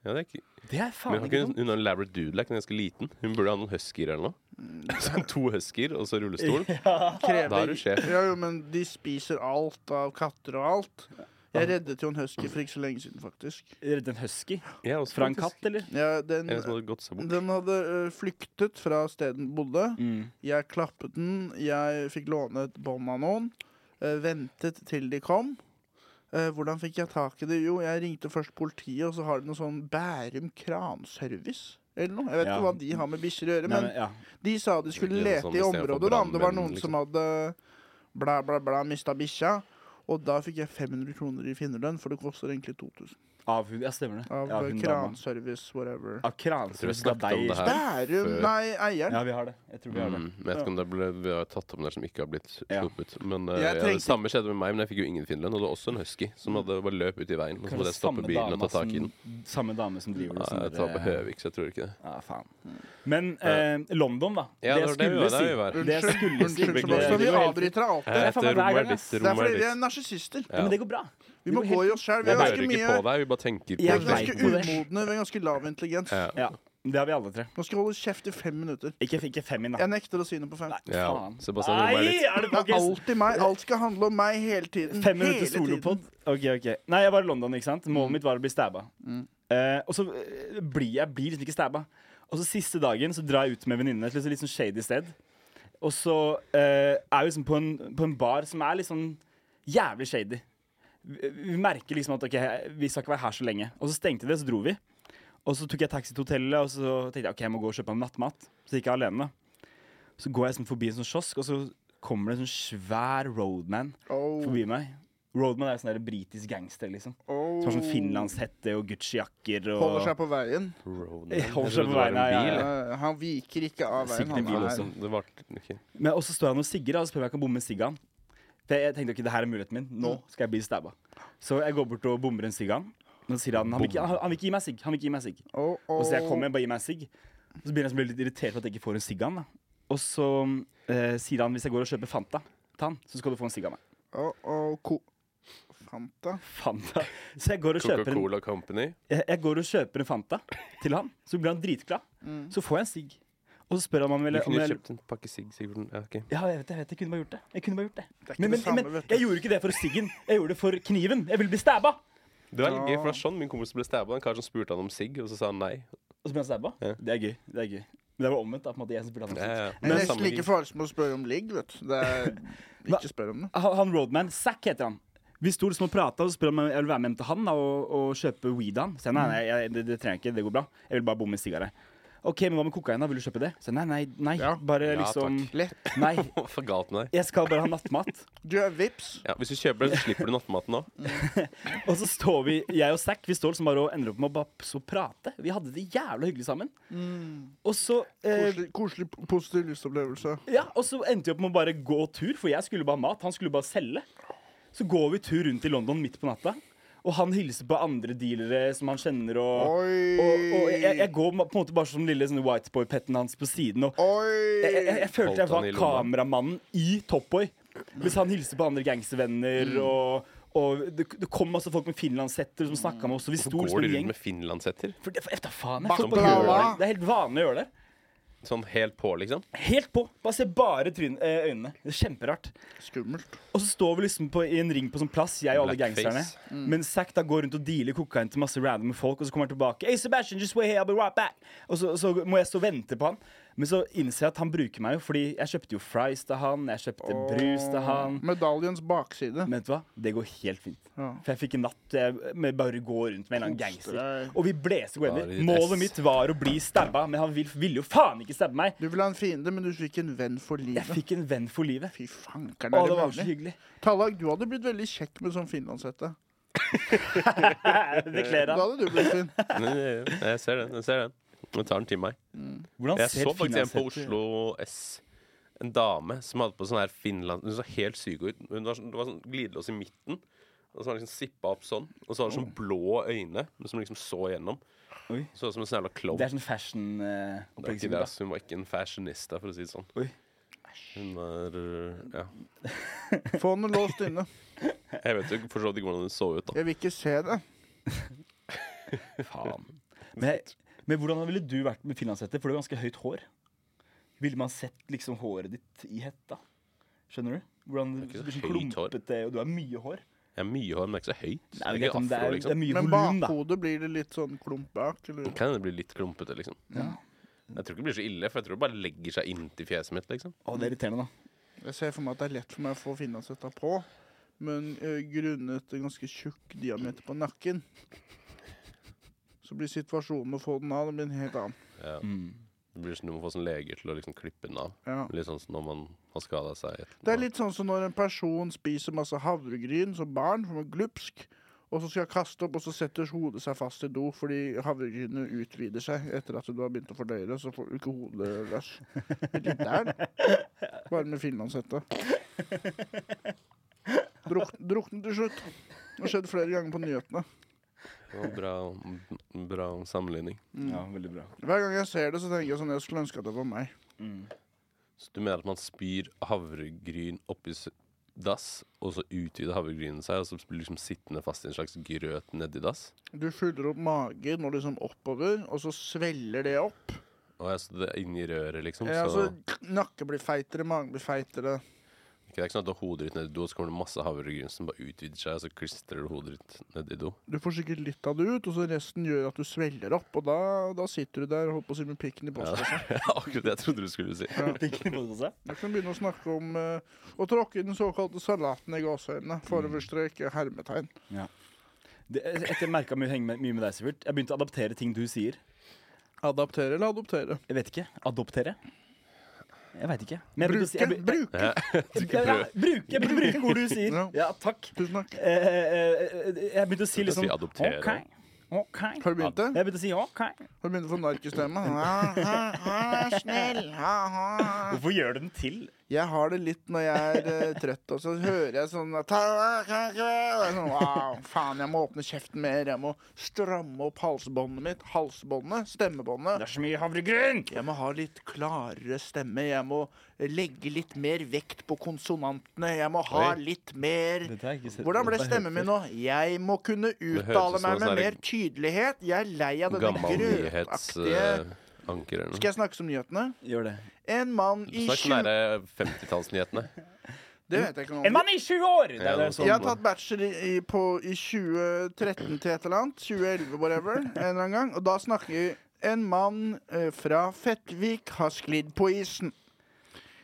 Ja, det er ikke
Det er
Men
faen
har
ikke
ikke hun,
dumt.
hun har en labrador like, hun er ganske liten. Hun burde ha noen huskyer eller noe.
Mm,
Så to huskyer og så rullestol. Da er du
Krever
sjef.
Ja, jo, men de spiser alt av katter og alt. Jeg reddet jo en husky for ikke så lenge siden, faktisk.
Redd en husky?
Ja, også
Fra en
faktisk.
katt, eller?
Ja, den,
En som hadde gått seg bort.
den hadde ø, flyktet fra stedet den bodde.
Mm.
Jeg klappet den, jeg fikk låne et bånd av noen. eh, ventet til de kom. Eh, hvordan fikk jeg tak i det? Jo, jeg ringte først politiet, og så har de noe sånn Bærum kranservice. Eller noe. Jeg vet
Ja.
ikke hva de har med bikkjer å gjøre,
Nei,
men,
men, ja.
de sa de skulle
Det er
lete
sånn
i
istedenfor
området, da, om det var
brannmenn, liksom.
noen som hadde bla, bla, bla, mista bikkja. Og da fikk jeg 500 kroner i finnerlønn, for det koster egentlig 2000.
Av hun, ja, stemmer det.
Av
ja,
eh,
hun dama.
kranservice, whatever.
Av
Jeg tror jeg
kranservice av
snakket om
deg.
det her.
Bærum
før.
Nei, eieren.
Ja, vi har det. Jeg tror vi har det.
Mm, men jeg vet ikke om det ble vi har tatt om der som ikke har blitt
Ja.
sluppet. Men eh,
Jeg
ja,
tenkte-
Det samme skjedde med meg, men jeg fikk jo ingen finlønn. Og det var også en husky som hadde bare løp ut i veien. Og så
Kanskje
måtte jeg stoppe
samme
bilen og
dama
ta tak i den.
som- Samme dame som driver
Nei,
det. som
jeg tar
dere-
på Høvik, så jeg tror ikke det.
Ja, faen. Men eh, London, da.
Ja, det var
jeg
det vi var,
skulle
det vi var.
si- det jeg skulle si-
Unnskyld,
det-
Sebastian.
det
Vi
går helt fint.
avbryter deg alltid.
er
Jeg
faen meg
heter
hver gang,
Romer
ass.
Ditt.
Det er
Romer
fordi vi
Ditt.
er narsissister.
Ja, men det går bra.
Vi må
Det
gå
går
i oss sjøl.
Jeg
Vi er
hører
ganske
ikke
mye
på deg, vi bare tenker
Jeg
på
vi er
det.
vet
ganske
på det.
umodne, vi er ganske lav intelligens.
Ja.
Ja, det har vi alle tre.
Nå skal jeg holde kjeft i fem minutter.
Ikke, ikke fem inn, da.
Jeg nekter å si noe på fem.
Nei,
Ja,
faen.
Sebastian Romer
Nei,
Ditt.
er det
Det er
faktisk
alltid meg. Alt skal handle om meg hele tiden.
Fem
Hele
minutter
tiden. Mm.
solopod. Ok, ok. Nei, jeg var i London, ikke sant. Målet mitt var å bli stabba. Eh, og så eh, blir jeg blir liksom ikke stabba. Og så siste dagen så drar jeg ut med venninnene til et litt sånn shady sted. Og så eh, er vi liksom på en, på en bar som er litt sånn jævlig shady. Vi, vi merker liksom at ok, vi skal ikke være her så lenge. Og så stengte det, så dro vi. Og så tok jeg taxi til hotellet, og så tenkte jeg ok, jeg må gå og kjøpe meg nattmat. Så gikk jeg alene. Så går jeg sånn forbi en sånn kiosk, og så kommer det en sånn svær roadman
Oh,
forbi meg. Roadman er jo sånn der britisk gangster, liksom.
oh.
Som har sånn finlandshette og Gucci-jakker og
Holder seg på veien.
Romer
Jeg
Ditt.
holder
Jeg
seg på
trodde det var en
beina, ja,
bil,
ja.
jeg.
Eh, han viker ikke av veien.
Sikkert en
Han
bil
er-
også.
Det var ok.
Men også står han og sigger, da, og spør om jeg kan bomme en sigg av han. For jeg tenkte ok, det her er muligheten min. Nå skal jeg bli stabba. Så jeg går bort og bommer en sigg av han. Men så sier han han vil ikke, han, han vil ikke gi meg sigg. Han vil ikke gi meg sigg.
Oh, oh.
Og så jeg kommer, bare gi meg en sigg. Og så begynner han å bli litt irritert for at jeg ikke får en sigg av han. da. Og så eh, sier han hvis jeg går og kjøper Fanta til han, så skal du få en sigg av meg.
Oh, oh, ko... Fanta.
Fanta. Så jeg går og kjøper en
Coca-Cola Company.
jeg, jeg går og kjøper en Fanta til han, så blir han dritglad. Så får jeg en sigg. Og så spør han om han
Du
vil om
kunne
jeg,
kjøpt en pakke sigg, Sigurden. Ja, ok.
Ja, jeg vet det, jeg vet det. Jeg kunne bare gjort det. Jeg kunne bare gjort det.
ikke
Men,
det
men,
samme,
men
vet du.
jeg gjorde ikke det for siggen. Jeg gjorde det for kniven. Jeg ville bli stabba.
Det var litt gøy, for det er sånn min kompis ble stabba. En kar som spurte han om sigg, og så sa han nei.
Og så ble han stabba.
Ja.
Det er gøy. det er gøy. Men det var omvendt. da, på en måte jeg som spurte han om sigg.
Ja, ja.
Det er
Men
nesten
samme
like
ligg.
farlig som å spørre om ligg, vet du. Det er ikke spør om det.
sånn. Han- Han roadman, Zack heter han. Vi sto liksom og prata og spurte om jeg ville være med hjem til han da, og, og kjøpe weed av han. Så jeg, nei, nei, jeg, det, det trenger jeg ikke, det går bra. Jeg vil bare bomme en sigg av deg. OK, men hva med kokain, da? Vil du kjøpe det? Så jeg, nei, nei, nei.
Ja.
Bare
Ja,
liksom
Lett.
Nei,
Hva for galt med deg?
jeg skal bare ha nattmat.
Du er vips.
Ja, hvis du kjøper det, så slipper du nattmaten òg.
Og så står vi, jeg og Zack, vi står liksom bare og ender opp med å bare så prate. Vi hadde det jævla hyggelig sammen. Og så eh,
Mm. Koselig, koselig positiv livsopplevelse.
Ja, og så endte vi opp med å bare gå tur, for jeg skulle bare ha mat, han skulle bare selge. Så går vi tur rundt i London midt på natta, og han hilser på andre dealere som han kjenner, og
Oi.
og, og jeg, jeg går ma- på en måte bare som den lille sånne white boy-petten hans på siden. Og jeg, jeg,
Oi!
jeg følte jeg
Holdt han
var
i lomma.
kameramannen i Top Boy. Hvis han hilste på andre gangstervenner.
Mm.
Og, og det, det kom masse folk med finlandshetter som snakka med oss. Og vi
Så
sto
går
liksom
de
en
rundt
gjeng.
med finlandshetter?
For det, for, efter faen, jeg,
Baklava.
folk bare gjør det. det er helt vanlig å gjøre det.
Sånn helt på, liksom?
Helt på. Bare se bare tryn, eh, øynene. Det er Kjemperart.
Skummelt.
Og så står vi liksom på, i en ring på sånn plass, jeg og alle
Blackface. Mm.
gangsterne. Men Zack da går rundt og dealer kokain til masse random folk, og så kommer han tilbake. Hey Sebastian, just wait here, I'll be right back Og så, så må jeg stå og vente på han. Men så innser jeg at han bruker meg jo, fordi jeg kjøpte jo fries til han, jeg kjøpte brus til han.
Medaljens bakside.
Men vet du hva? Det går helt fint.
Ja.
For jeg fikk en natt jeg, med bare gå rundt med en eller annen
Koste
gangster.
deg.
Og vi bleste
Bare
uenige.
i
Målet
dress.
mitt var å bli stabba, men han vil- ville jo faen ikke stabbe meg.
Du ville ha en fiende, men du fikk en venn for
Jeg
livet.
fikk en venn for livet.
Fy
Å,
fankeren, er
det
det
var så
mulig?
hyggelig.
Tallag, du hadde blitt veldig kjekk med sånn finlandshette.
Det kler
Da
han.
hadde du blitt fin.
Men, eh, Jeg ser den. jeg ser den Jeg tar den til meg.
Hvordan
Jeg så faktisk en på
finlandshette ut?
Oslo S. En dame som hadde på sånn her Finland Hun så helt syk ut. Hun var sånn, det var sånn glidelås i midten. Og så var det liksom sippa opp sånn. Og så var det sånn blå øyne som liksom så gjennom.
Oi.
Så ut som en sånn jævla klovn.
Det er sånn fashion eh,
Det er ikke det, ass. Hun var ikke en fashionista, for å si det sånn.
Oi.
Hun var eh, Ja.
Få den låst inne.
Jeg vet jo for så vidt ikke hvordan hun så ut, da.
Jeg vil ikke se det.
altså.
Faen. Men, men hvordan ville du vært med finlandshette? For du har ganske høyt hår. Ville man sett liksom håret ditt i hetta? Skjønner du? Hvordan det
Det er ikke
blir
så
sånn
høyt hår.
klumpete, og du har mye hår.
Jeg har mye hår, men det er ikke så høyt.
Nei, men
det er
greit,
ikke
men det,
afro,
er, det
liksom.
er mye
Men
volum, da.
bakhodet blir det litt sånn klump bak. Eller?
Kan hende det blir litt klumpete, liksom.
Ja.
Jeg tror ikke det blir så ille, for jeg tror det bare legger seg inntil fjeset mitt, liksom.
Å, det er irriterende, da.
Jeg ser for meg at det er lett for meg å få finlandshetta på, men eh, grunnet en ganske tjukk diameter på nakken, så blir situasjonen med å få den av den blir en helt annen.
Ja.
Mm.
Det blir sånn, Du må få sånn leger til å liksom klippe den av.
Ja.
Litt sånn som når man har skada seg. etterpå.
Det er litt sånn som når en person spiser masse havregryn som barn, som er glupsk, og så skal jeg kaste opp, og så setter hodet seg fast i do fordi havregrynet utvider seg etter at du har begynt å fordøye det, så får du ikke hodet løs. Det er Litt der, det. Bare med finlandshette. Druk, drukne til slutt. Det har skjedd flere ganger på nyhetene.
Det var bra, bra sammenligning.
Mm.
Ja, veldig bra.
Hver gang jeg ser det, så tenker jeg sånn Jeg skulle ønske at det var meg.
Så du mener at man spyr havregryn oppi s- dass, og så utvider havregrynet seg, og så blir liksom sittende fast i en slags grøt nedi dass?
Du fyller opp magen og liksom oppover, og så svelger det opp.
Og jeg, så det er inni røret, liksom.
Ja, altså-
så
så nakke blir feitere, magen blir feitere.
det er ikke sånn at du har hodet ditt nedi do, og så kommer det masse havregryn som bare utvider seg, og så klistrer du hodet ditt nedi do.
Du får sikkert litt av det ut, og så resten gjør at du svelger opp. Og da, da sitter du der holdt på å si med pikken i
Ja,
postkassa.
akkurat det jeg trodde du skulle si.
Tenker du på det?
Da kan du begynne å snakke om eh, å tråkke i den såkalte salaten i gåseøynene.
Mm.
Foroverstrek, hermetegn.
Det- Etter jeg merka mye, henge med- mye med deg, Sivert, jeg begynte å adaptere ting du sier.
Adaptere eller adoptere?
Jeg vet ikke. Adoptere? Jeg veit ikke. Men jeg begynte å si-
Bruke.
jeg be-
Bruke.
Ja, du
Jeg,
skal
jeg,
prøve.
jeg, bruke, jeg begynte å bruke ord du sier.
Ja.
Ja, takk.
Tusen takk.
Eh, eh, eh, jeg begynte å si
Du
liksom
kan si adoptere.
OK. ok.
Har du begynt det?
Jeg begynte å si OK.
Har du begynt å få narkistemme? Ha, ha, ha, snill. Ha, ha.
Hvorfor gjør du den til?
Jeg har det litt når jeg er eh, trøtt, og så hører jeg sånn at- og jeg er sånn, Wow, faen, jeg må åpne kjeften mer. Jeg må stramme opp halsbåndet mitt. Halsbåndet, stemmebåndet.
Det er så mye havregryn!
Jeg må ha litt klarere stemme. Jeg må legge litt mer vekt på konsonantene. Jeg må ha
Oi.
litt mer
Dette har jeg ikke sett-
Hvordan ble
dette har jeg
stemmen min nå? Jeg må kunne
høres
uttale
ut som
meg med
en sånn
mer tydelighet. Jeg er lei av denne
Gammel eh,
grøtaktige
nyhetsanker eller noe.
Skal jeg snakke som nyhetene?
Gjør det.
En mann i
Snakk
tjue-
nære 50-tallsnyhetene.
Det vet jeg ikke noe om.
En mann i 20 år! Det er,
Ja,
det
noe
er
sånt.
Jeg har
sånn.
tatt bachelor i, i- på, i 2013 til et eller annet. 2011, whatever. En eller annen gang. Og da snakker vi En mann eh, fra Fettvik har sklidd på isen.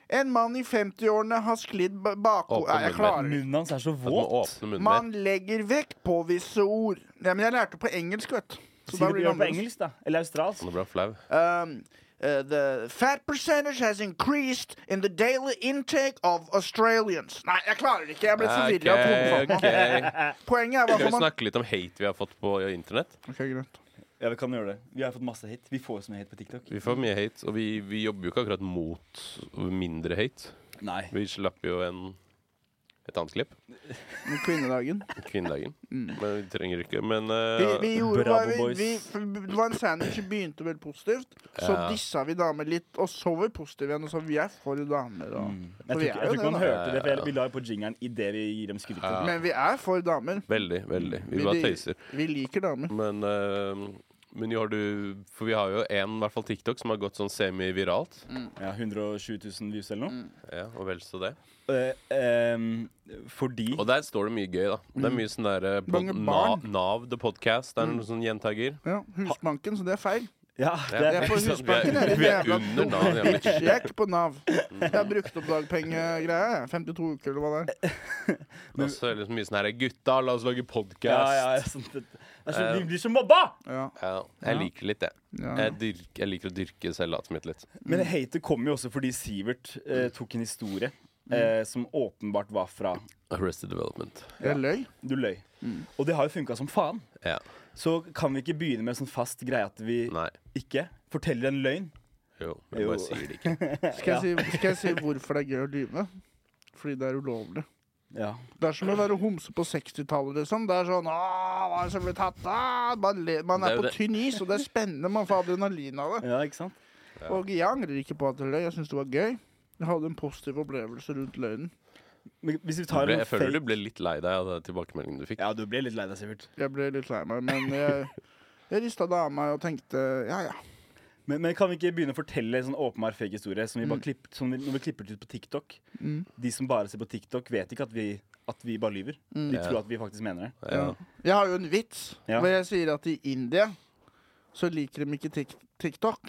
En mann i 50-årene har sklidd ba- bako...
Åpne
Nei, jeg
munnen.
klarer det.
Munnen hans er så
Du må
våt.
åpne munnen
Man
mer.
legger vekt på visse ord. Ja, men jeg lærte på engelsk, vet du. Så
Si
da
det på gjør
blir det
det på
annerledes.
engelsk, da. Eller australsk.
Nå ble han flau.
Um, uh, the fat percentage has increased in the daily intake of Australians. Nei, jeg klarer det ikke. Jeg ble forvirra.
Ok,
Okay, okay.
ok.
Poenget er
Skal
hva
vi
man
snakke litt om hate vi har fått på internett?
Ok, greit.
Ja, Vi kan gjøre det. Vi har fått masse hit. Vi får så mye hit på TikTok.
Vi får mye hate, og vi, vi jobber jo ikke akkurat mot mindre hate.
Nei.
Vi slapp jo en et annet klipp.
Om Kvinnedagen.
Kvinnedagen. Men vi trenger ikke Men eh,
Vi, vi gjorde
Bravo,
hva vi,
boys.
vi, for Det var en sandwich som begynte vel positivt. Så
Ja.
dissa vi damer litt, og så var vi positive igjen. Og så vi er for damer. Og,
Mm. Jeg
for
tror ikke,
vi
jeg
er
tror
jo
ikke man
det,
hørte det, for jeg- vi la jo på jingeren idet vi gir dem skrytet.
da. Men vi er for damer.
Veldig, veldig. Vi bare tøyser.
vi liker damer.
Men, eh, men jo, har du For vi har jo en, i hvert fall TikTok, som har gått sånn semiviralt.
Ja, 120 000 views eller noe.
Mm.
Ja, og vel så det.
Eh, ehm, fordi
Og der står det mye gøy, da. Det er mye sånn derre
Mange
Nav,
barn.
Nav the Podcast. Det er noen sånne gjentager.
Ja, Husbanken, så det er feil.
Ja, det
Jeg
er
er på
ikke sant, vi er-
Husbanken, jeg.
vi er
Jævla
under Nav,
dumme
jævla bitch.
bitch-jack på Nav.
Mm.
Jeg har brukt opp dagpengegreia. jeg. 52 uker, eller hva det er.
Og så er det liksom mye sånn her Gutta, la oss lage podkast.
ja, ja, ja, sånn, det, det er så, de blir så mobba!
Ja.
Jeg liker litt det.
Ja.
Jeg, dyrk, jeg liker å dyrke selvlatet mitt litt.
Men hatet kom jo også fordi Sivert
Mm.
eh, tok en historie eh, som åpenbart var fra
Arrested Development.
Jeg løy.
Du løy.
Mm.
Og det har jo funka som faen.
Ja.
Så kan vi ikke begynne med en sånn fast greie at vi
Nei.
ikke forteller en løgn.
Jo. Jeg
Jo.
bare sier det ikke.
Skal jeg, si, skal jeg si hvorfor det er gøy å lyve? Fordi det er ulovlig.
Ja.
Det er som å være homse på 60-tallet, liksom. Det er sånn Åh, hva er det som blir tatt? Ah, man, le, man
Det er
er
jo
på
det.
tynn is, og det er spennende. Man får adrenalin av det.
ja, ikke sant?
Og jeg angrer ikke på at jeg løy. Jeg syns det var gøy. Jeg hadde en positiv opplevelse rundt løgnen.
Men hvis vi
Du
tar
ble,
en
jeg føler du
fake
ble litt lei deg av den tilbakemeldingen du fikk.
Ja, du ble litt lei deg, Sivert.
Jeg ble litt lei meg, men jeg, jeg rista det av meg og tenkte ja, ja.
Men, men kan vi ikke begynne å fortelle en sånn åpenbar fake historie som vi
Mm.
bare klipp, som vi, når vi klipper det ut på TikTok? De som bare ser på TikTok, vet ikke at vi, at vi bare lyver. De
Mm. Ja.
tror at vi faktisk mener det.
Ja.
Jeg har jo en vits
Ja.
hvor jeg sier at i India så liker de ikke tik TikTok.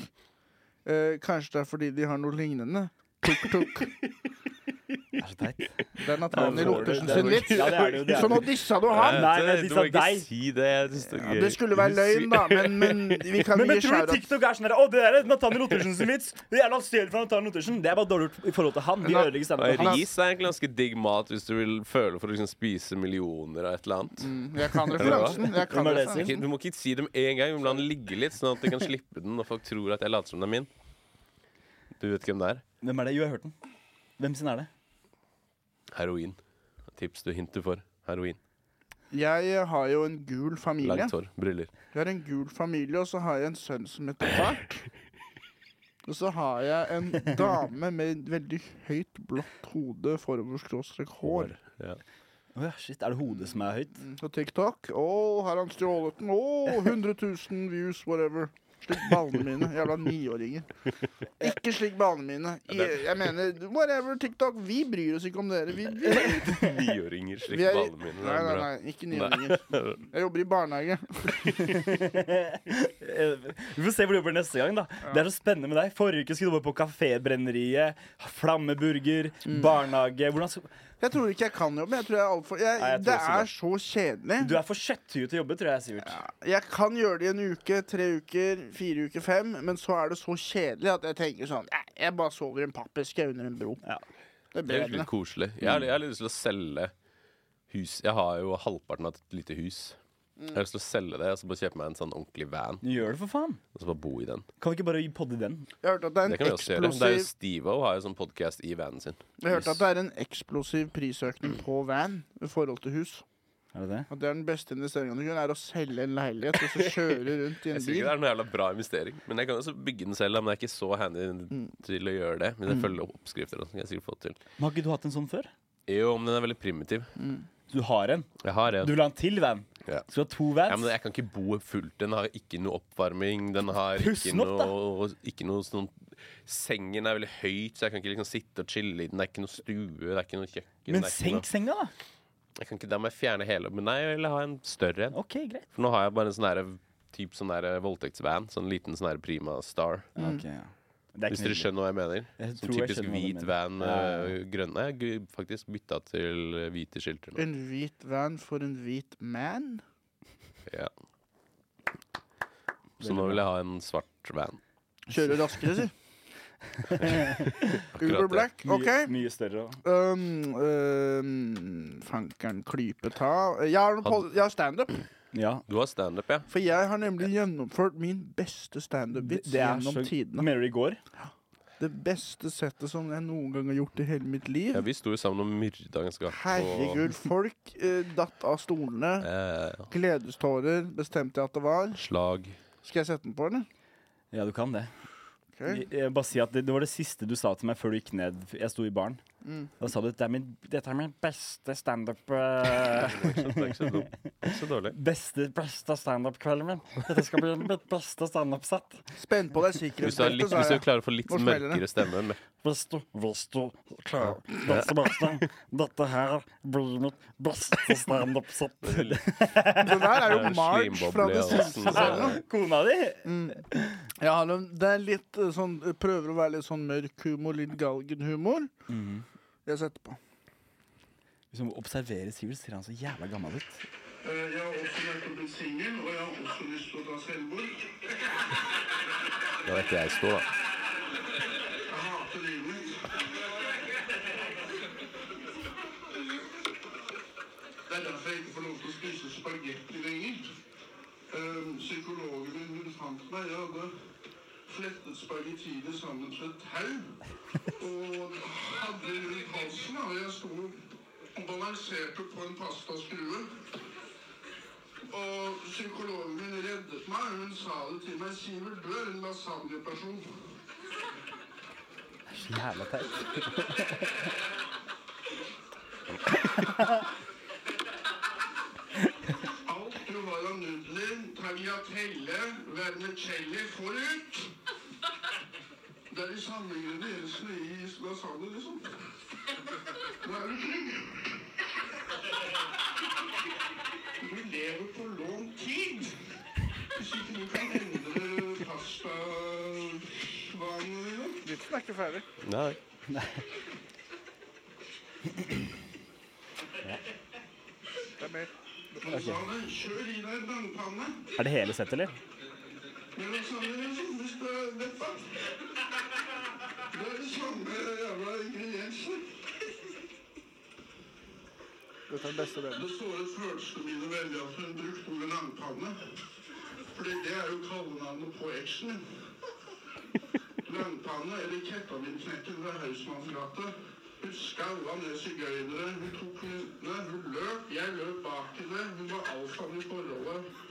Eh, kanskje det er fordi de har noe lignende. Tuk-tuk.
Det er så teit.
Den er Tony Lortersen sin vits.
Ja, det er det jo. Det
Så
er
nå
det. jo.
dissa du
Eh,
han!
Nei, nei, de
du
sa
må ikke
deg.
si det. Jeg synes det, er
Ja,
gøy.
det skulle være
Du
løgn,
sier-
da, men, men vi kan
Men, men
gi
tror du
shout-out.
TikTok er sånn der Å, det der er Nathaniel Ottersen sin vits! Det er jævla stjålet fra Nathaniel Ottersen! Det er bare dårlig gjort i forhold til han. De
Nei.
ødelegger standupen
Og
hans.
Ris er egentlig ganske digg mat hvis du vil føle for å liksom spise millioner av et eller annet.
Mm, Jeg kan referansen. Jeg kan
Hvem er det,
referansen.
Ikke- Du må ikke si dem én gang, du må la den ligge litt, sånn at de kan slippe den når folk tror at jeg later som det er min. Du vet hvem det er?
Hvem er det? Jo, jeg har hørt den. Hvem sin er det?
Heroin. Tips du hinter for. Heroin.
Jeg eh, har jo en gul familie.
Langt hår. Briller.
Jeg har en gul familie, og så har jeg en sønn som heter Bart. Og så har jeg en dame med veldig høyt blått hode, foroverskråstrek hår.
Ja.
Å ja, shit. Er det hodet som er høyt?
Og TikTok. Å, har han stjålet den? Å, 100 000 views, whatever. Slik ballene mine. Jævla niåringer. Ikke slik ballene mine. Jeg, jeg mener, whatever, TikTok. Vi bryr oss ikke om dere. Vi, vi,
Niåringer slik
vi er,
ballene mine.
nei, nei, nei, ikke niåringer. Jeg jobber i barnehage.
Eh, Vi får se hvor du jobber neste gang. da Det er så spennende med deg. Forrige uke skulle du jobbe på Kafébrenneriet, Flammeburger, barnehage Hvordan skal
Jeg tror ikke jeg kan jobbe. Jeg tror jeg er alt for, jeg,
Nei, jeg tror
det
også
er
det.
så kjedelig.
Du er for kjøtthuet til å jobbe, tror jeg, Sivert.
Jeg kan gjøre det i en uke, tre uker, fire uker, fem, men så er det så kjedelig at jeg tenker sånn "Nei, Jeg bare sover i en pappeske under en bro.
Ja.
Det er
Det er jo
bedre.
litt koselig. Jeg har, jeg har litt lyst til å selge hus. Jeg har jo halvparten av et lite hus. Jeg har lyst til å selge det og så bare kjøpe meg en sånn ordentlig van
Gjør det, for faen.
og så bare bo i den.
Kan vi ikke bare podde den?
Jeg hørte at det er
Det
en
kan vi også gjøre. Det er jo
eksplosiv,
Steve-O har jo sånn podkast i vanen sin.
jeg hørte at det er en eksplosiv prisøkning på van i forhold til hus.
Er det det?
At det er den beste investeringen du kan, er å selge en leilighet og så kjøre rundt i
Jeg
en
sier ikke
bil.
det er noe jævla bra investering, men jeg kan også bygge den selv. da, Men jeg er ikke så handy til å gjøre det. Men
Mm.
jeg følger oppskrifter. og sånn, kan jeg sikkert få det til
Men har ikke du hatt en sånn før?
Jo, men den er veldig primitiv.
Du har en.
Jeg har
Du
en.
vil ha en til van?
Ja.
Skal du ha to
Ja,
vans?
men jeg kan ikke bo fullt. Den har ikke noe oppvarming. Den har ikke
Pussen opp, da.
noe, ikke noe sånn Sengen er veldig høyt, så jeg kan ikke liksom sitte og chille i den. Det er ikke noe stue, det er ikke noe kjøkken. det er
Men
ikke
senk
noe.
senga, da.
Jeg kan ikke, Da må jeg fjerne hele. Men nei, jeg vil ha en større en.
OK, greit.
For nå har jeg bare en sånn her typ sånn her voldtektsvan. Sånn liten sånn her Prima Star.
Mm.
Ok, ja. Det er ikke
Hvis dere
nødvendig.
skjønner hva jeg mener.
Jeg
Sånn
tror jeg
typisk
skjønner hva du
hvit
mener.
van eh, med
Ja, ja,
grønne. Jeg har faktisk bytta til eh, hvite skilter nå.
En hvit van for en hvit man.
Ja. Så nå vil jeg ha en svart van.
Kjøre raskere, si. Uber
det.
Black.
Mye,
OK.
mye større. og-
Um, um, fankeren klype ta Jeg har, noe pod- jeg har standup.
Ja.
Du har standup, ja?
For jeg har nemlig gjennomført min beste
Det,
standup-vits
det er
gjennom
så
tidene.
Mener du i går?
Det beste settet som jeg noen gang har gjort i hele mitt liv.
Ja, vi sto jo sammen og myrda ganske hardt.
Herregud, folk eh, datt av
Og,
stolene.
eh,
Gledestårer bestemte jeg at det var.
slag.
Skal jeg sette den på, eller?
Ja, du kan det.
Ok.
Jeg, jeg bare si at det, det var det siste du sa til meg før du gikk ned. Jeg sto i baren.
Mm.
Og sa du dette er min, dette er min beste standup eh,
Så det er ikke så dumt. Ikke så dårlig.
Beste, beste standup-kvelden min. Dette skal bli mitt beste standup-sett.
Spenn på deg
Hvis du, har litt, hvis
sikkerhetsbeltet, sa
du
jeg.
klarer å få litt
Hvor smeller det?
mørkere stemme med
Hvis du, hvis du klarer det Sebastian, dette her blir mitt beste standup-sett.
Det der er jo
Ja,
March
eh, slimboble
fra det
og
siste
sånn,
sesongen.
så-
Kona di?
Ja, det det er litt eh, sånn Prøver å være litt sånn mørk humor, litt galgenhumor.
Mhm.
Jeg setter på.
Hvis man observerer Sivert, ser han så jævla gammel ut.
Eh, Jeg har også vært opp en singel, og jeg har også lyst til å ta selvmord.
Da vet jeg stå, da.
Jeg hater livet mitt. Det er derfor jeg ikke får lov til å spise spagetti lenger. Eh, Psykologen min hun fant meg. Jeg hadde flettet spagettiene sammen med et tau og hadde det rundt halsen. da, Og jeg sto og balanserte på en pastaskrue. Og psykologen min reddet meg. Hun sa det til meg. Sivert, du er en lasagneperson.
Så jævla teit.
Alt du har av nudler, tagliatelle, vermicelli, får ut. Det er de samme ingrediensene i lasagne, liksom. Nå er du trygg. Du lever på lånt tid. Hvis ikke du kan endre pastavanene dine.
Vitsen er ikke ferdig.
Nei.
Det er mer.
Men sa det, kjør i deg brannpanne.
Er det hele sett, eller?
Men lasagne, liksom, hvis det er leppa. Det er de samme jævla ingrediensene.
Dette er den beste delen.
Det store følelsene mine veldig at hun brukte ordet langpanne. Fordi det er jo kallenavnet på eksen min. Langpanne, eller Kettavinknekken fra Hausmannsgata. Hun skaua ned sigøynere. Hun tok henne, hun løp, jeg løp bak henne. Hun var alfaen i forholdet.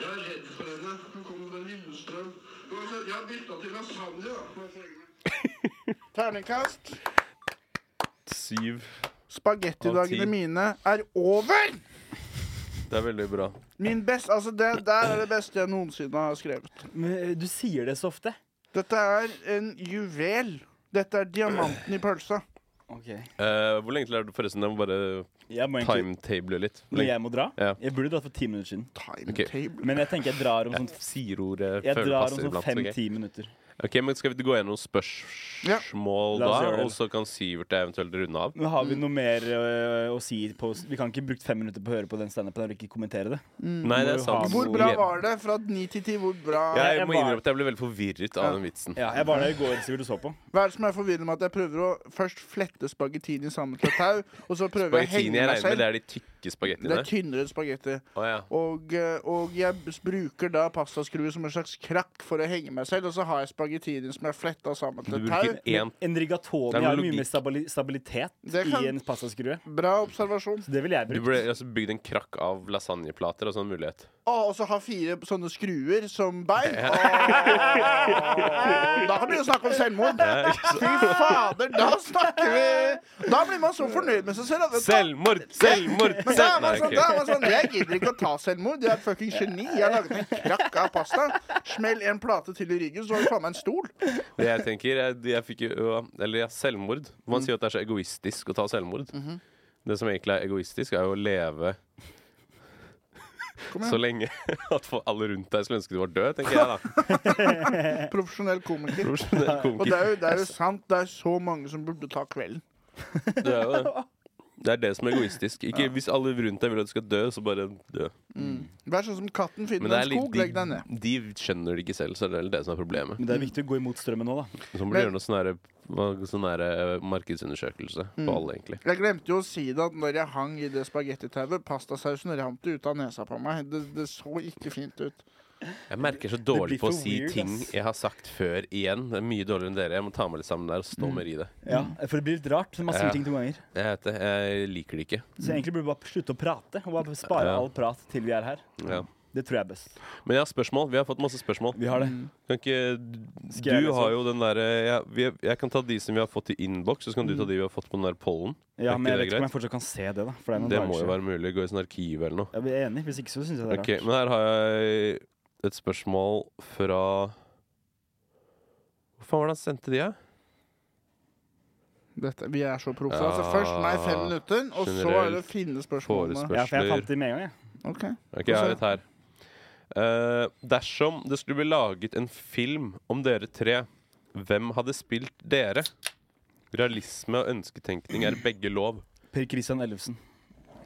Jeg er redd for henne. Hun kommer fra Lillestrøm. Uansett, jeg har bytta til lasagne, da.
Terningkast.
Syv. Av
Spagettidagene
ti.
mine er over!
Det er veldig bra.
Min best, altså det der er det beste jeg noensinne har skrevet.
Men eh, du sier det så ofte.
Dette er en juvel. Dette er diamanten i pølsa.
Ok.
Eh, hvor lenge til er det forresten? Jeg må bare
Jeg må egentlig,
timetable litt. Hvor
når
lenge?
jeg må dra?
Ja.
Jeg burde dratt for ti minutter siden.
Timetable.
Men jeg tenker jeg drar om sånn
Jeg sier ordet
jeg
føler
drar om
passer
sånn
iblant. så ok?
fem-ti minutter.
ok, men Skal vi gå gjennom spørsmål
Ja. La oss gjøre
da,
det.
og så kan Sivert eventuelt runde av?
Men har vi noe mer øh, å si på Vi kan ikke bruke fem minutter på å høre på den standupen og ikke kommentere det.
Nei, det
Mm. må
er
jo ha
sant.
noe-
Hvor bra var det? Fra ni til ti, hvor bra?
Jeg,
Jeg
må
var-
innrømme at jeg ble veldig forvirret av den vitsen.
Ja, Jeg var der i går, Sivert, du så på.
Hva er det som er forvirrende med at jeg prøver å først flette spagettini sammen til et tau, og så prøver jeg å
Spagettini
henge
jeg regner
meg
med,
selv?
det er de tykke
Det
spagettiene?
er tynnere spagetti.
Å ja.
Og, eh, og jeg bes- bruker da pastaskruer som en slags krakk for å henge meg selv, og så har jeg spagettini som jeg har fletta sammen
Du
til et
bruker
tau.
én
En rigatoni
Det er
har jo
logikk.
mye mer stabili stabilitet
Det kan-
i en pastaskrue.
Bra observasjon.
Så det ville jeg
Du
brukt.
ble altså bygd en krakk av lasagneplater og sånn mulighet.
Å, og så ha fire sånne skruer som bein. Åh, Da kan vi jo snakke om selvmord.
Ja, ikke sant?
Fy fader, da snakker vi Da blir man så fornøyd med seg selv. at-
Selvmord! Selvmord!
Men da er
selv-
man
Nei,
sånn,
ok.
da er man sånn Jeg gidder ikke å ta selvmord. Jeg er et fucking geni. Jeg har laget en krakk av pasta. Smell en plate til i ryggen, så har du faen meg en stol.
Det jeg tenker, jeg, jeg fikk jo Eller ja, selvmord. Man sier jo at det er så egoistisk å ta selvmord.
Mhm.
Det som egentlig er egoistisk, er jo å leve så lenge at for alle rundt deg skulle ønske du var død, tenker jeg da.
Profesjonell komiker.
Profesjonell
Og det er,
komiker.
jo, det er jo sant. Det er så mange som burde ta kvelden.
Det er jo det. Det er det som er egoistisk. Ikke Hvis alle rundt deg vil at du skal dø, så bare dø.
Vær sånn som katten
Men
finner
det er
en skog, legg deg ned.
litt, de, de skjønner det ikke selv, så det er vel det som er problemet.
Men det er viktig å gå imot strømmen nå, da.
Så må du
Men-
gjøre noe sånn her- hva- sånn her, eh, markedsundersøkelse på alle, egentlig.
Jeg glemte jo å si det at når jeg hang i det spagettitauet, pastasausen rant ut av nesa på meg. Det, det så ikke fint ut.
Jeg merker så
blir
dårlig på å
for
si
weird,
ting
ass.
jeg har sagt før igjen. Det er mye dårligere enn dere. Jeg må ta meg litt sammen der og stå mer i det.
Ja, For det blir litt rart. Man sier
Mm. Ja.
ting to ganger.
Jeg, vet det, jeg liker det ikke.
Så egentlig burde vi bare slutte å prate, og bare spare
Ja.
all prat til vi er her.
Ja.
Det tror jeg er best.
Men jeg har spørsmål. Vi har fått masse spørsmål.
Vi har det.
Mm.
Kan ikke
Skal jeg liksom?
Du
lese
har
opp?
jo den derre jeg, vi- jeg kan ta de som vi har fått i innboks, så kan du ta de vi har fått på den der pollen.
Ja,
Er
men jeg vet
ikke det
ikke om
greit?
jeg fortsatt kan se det, da. For det er noen
Det
dager
må jo
siden.
være mulig. Gå i sånn arkiv eller noe.
Jeg blir enig. Hvis ikke så syns jeg det er
Ok,
rart.
men her har jeg et spørsmål fra Hvor faen var det han sendte de, da?
Dette, vi er så proffe.
Ja,
Altså først meg fem minutter, og så er det å finne spørsmålene.
Forespørsel.
Ja, for jeg fant det med en gang, jeg.
Ok.
Ok, jeg har et her. Eh, dersom det skulle bli laget en film om dere tre, hvem hadde spilt dere? Realisme og ønsketenkning er begge lov.
Per Christian Ellefsen.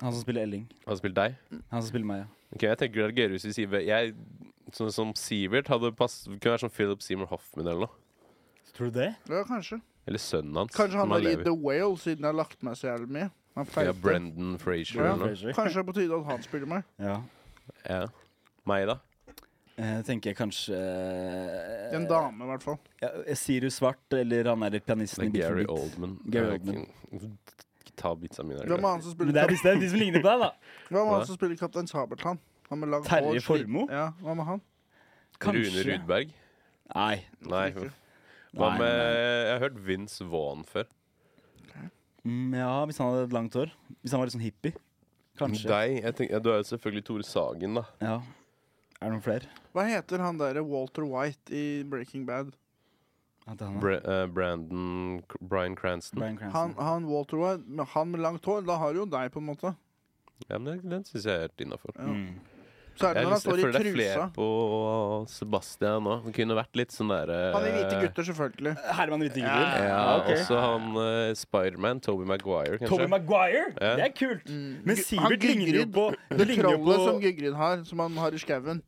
Han som spiller Elling.
Hadde spilt deg?
Han som spiller meg, ja.
Ok, Jeg tenker det er gøyere hvis vi sier ve- jeg, Sånn som Sivert hadde pass, kunne vært som Philip Seymour Hoffman eller noe.
Tror du det?
Ja, kanskje.
Eller sønnen hans.
Kanskje han
om
er i
lever.
The Whale, siden jeg har lagt meg så jævlig mye. Han
Ja,
feiter.
Brendan Frazier
Ja.
eller noe.
Kanskje det er på tide at han spiller meg.
Ja.
Ja. Meg, da?
Eh, tenker jeg kanskje eh,
En dame, i hvert fall.
Ja, Sirius Svart, eller han er pianisten
Det
i
er
Bit for
Gary
bit.
Oldman.
Gary
Jeg
Oldman.
kan- Ta bitsa mine. er det
Hvem er
greit?
han som
Men
spiller,
det er,
kap
de- det er de som ligner på deg, da.
Hvem er
Hva?
han som spiller Kaptein Sabeltann? Han med langt
Terje
hår, sli-
Formoe?
Ja, hva med han?
Rune Rudberg?
Nei.
Nei.
Ikke.
Hva
Nei,
med Jeg har hørt Vince Vaughn før.
Mm, ja, hvis han hadde et langt hår. Hvis han var litt sånn hippie. Kanskje.
Deg? Jeg tenker, ja, du er jo selvfølgelig Tore Sagen, da.
Ja. Er det noen flere?
Hva heter han derre Walter White i Breaking Bad?
Ja, det er han, da.
Bra, eh, Brandon C- Bryan Cranston.
Mm. Bryan
Han,
Mm. sånn.
Cranston.
han Walter White, men han med langt hår, da har du jo deg, på en måte.
Ja, men den- Den syns jeg er helt innafor.
Ja.
Mm.
Så
Jeg,
er
har
det når han
lyst- jeg
står i
føler det er
trusa.
flere på Sebastian òg. Det kunne vært litt sånn derre
Han i Hvite gutter, selvfølgelig.
Herman Whittinger.
Ja,
ok.
Også han eh, Spiderman, Toby Maguire, kanskje.
Tobey Maguire?
Ja.
Det er kult. Men
Mm. Han
Sivert ligner jo
Gygrid.
på Du
Det
ligner jo
trollet som
på Eh,
Gygrid har, som han har i skauen.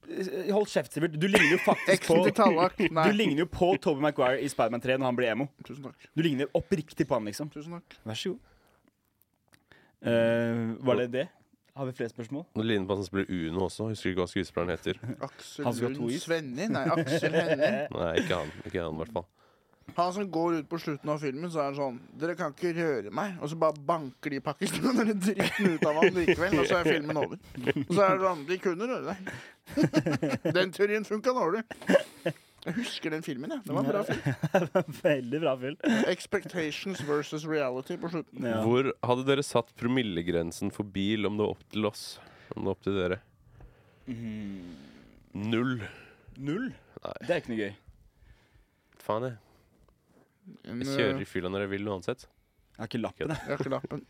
Hold kjeft, Sivert. Du ligner jo faktisk
Eksen til
på
Tallak. Nei.
Du ligner jo på Tobey Maguire i Spiderman 3 når han blir emo.
Tusen takk.
Du ligner oppriktig på han, liksom.
Tusen takk.
Vær så god. Eh, var det det? Har vi flere spørsmål?
Det ligner på han som spiller Uno også. Husker ikke hva skuespilleren heter.
Aksel
Han som har to
Lund
is.
Svenni? Nei, Aksel Hennie.
Nei, ikke han. Ikke han, i hvert fall.
Han som går ut på slutten av filmen, så er han sånn Dere kan ikke røre meg. Og så bare banker de pakistanerne dritten ut av ham likevel, og så er filmen over. Og så er det sånn De kunne røre deg. Den teorien funka dårlig. Jeg husker den filmen, jeg. Det var en bra film.
Veldig bra fyll.
Expectations versus reality på slutten.
Ja.
Hvor hadde dere satt promillegrensen for bil om det var opp til oss? Om det var opp til dere? Null.
Null?
Nei.
Det er ikke noe gøy.
Faen, jeg.
En,
Jeg
eh,
kjører i fylla når jeg vil uansett.
Jeg har ikke lappen, jeg.
Jeg har ikke lappen.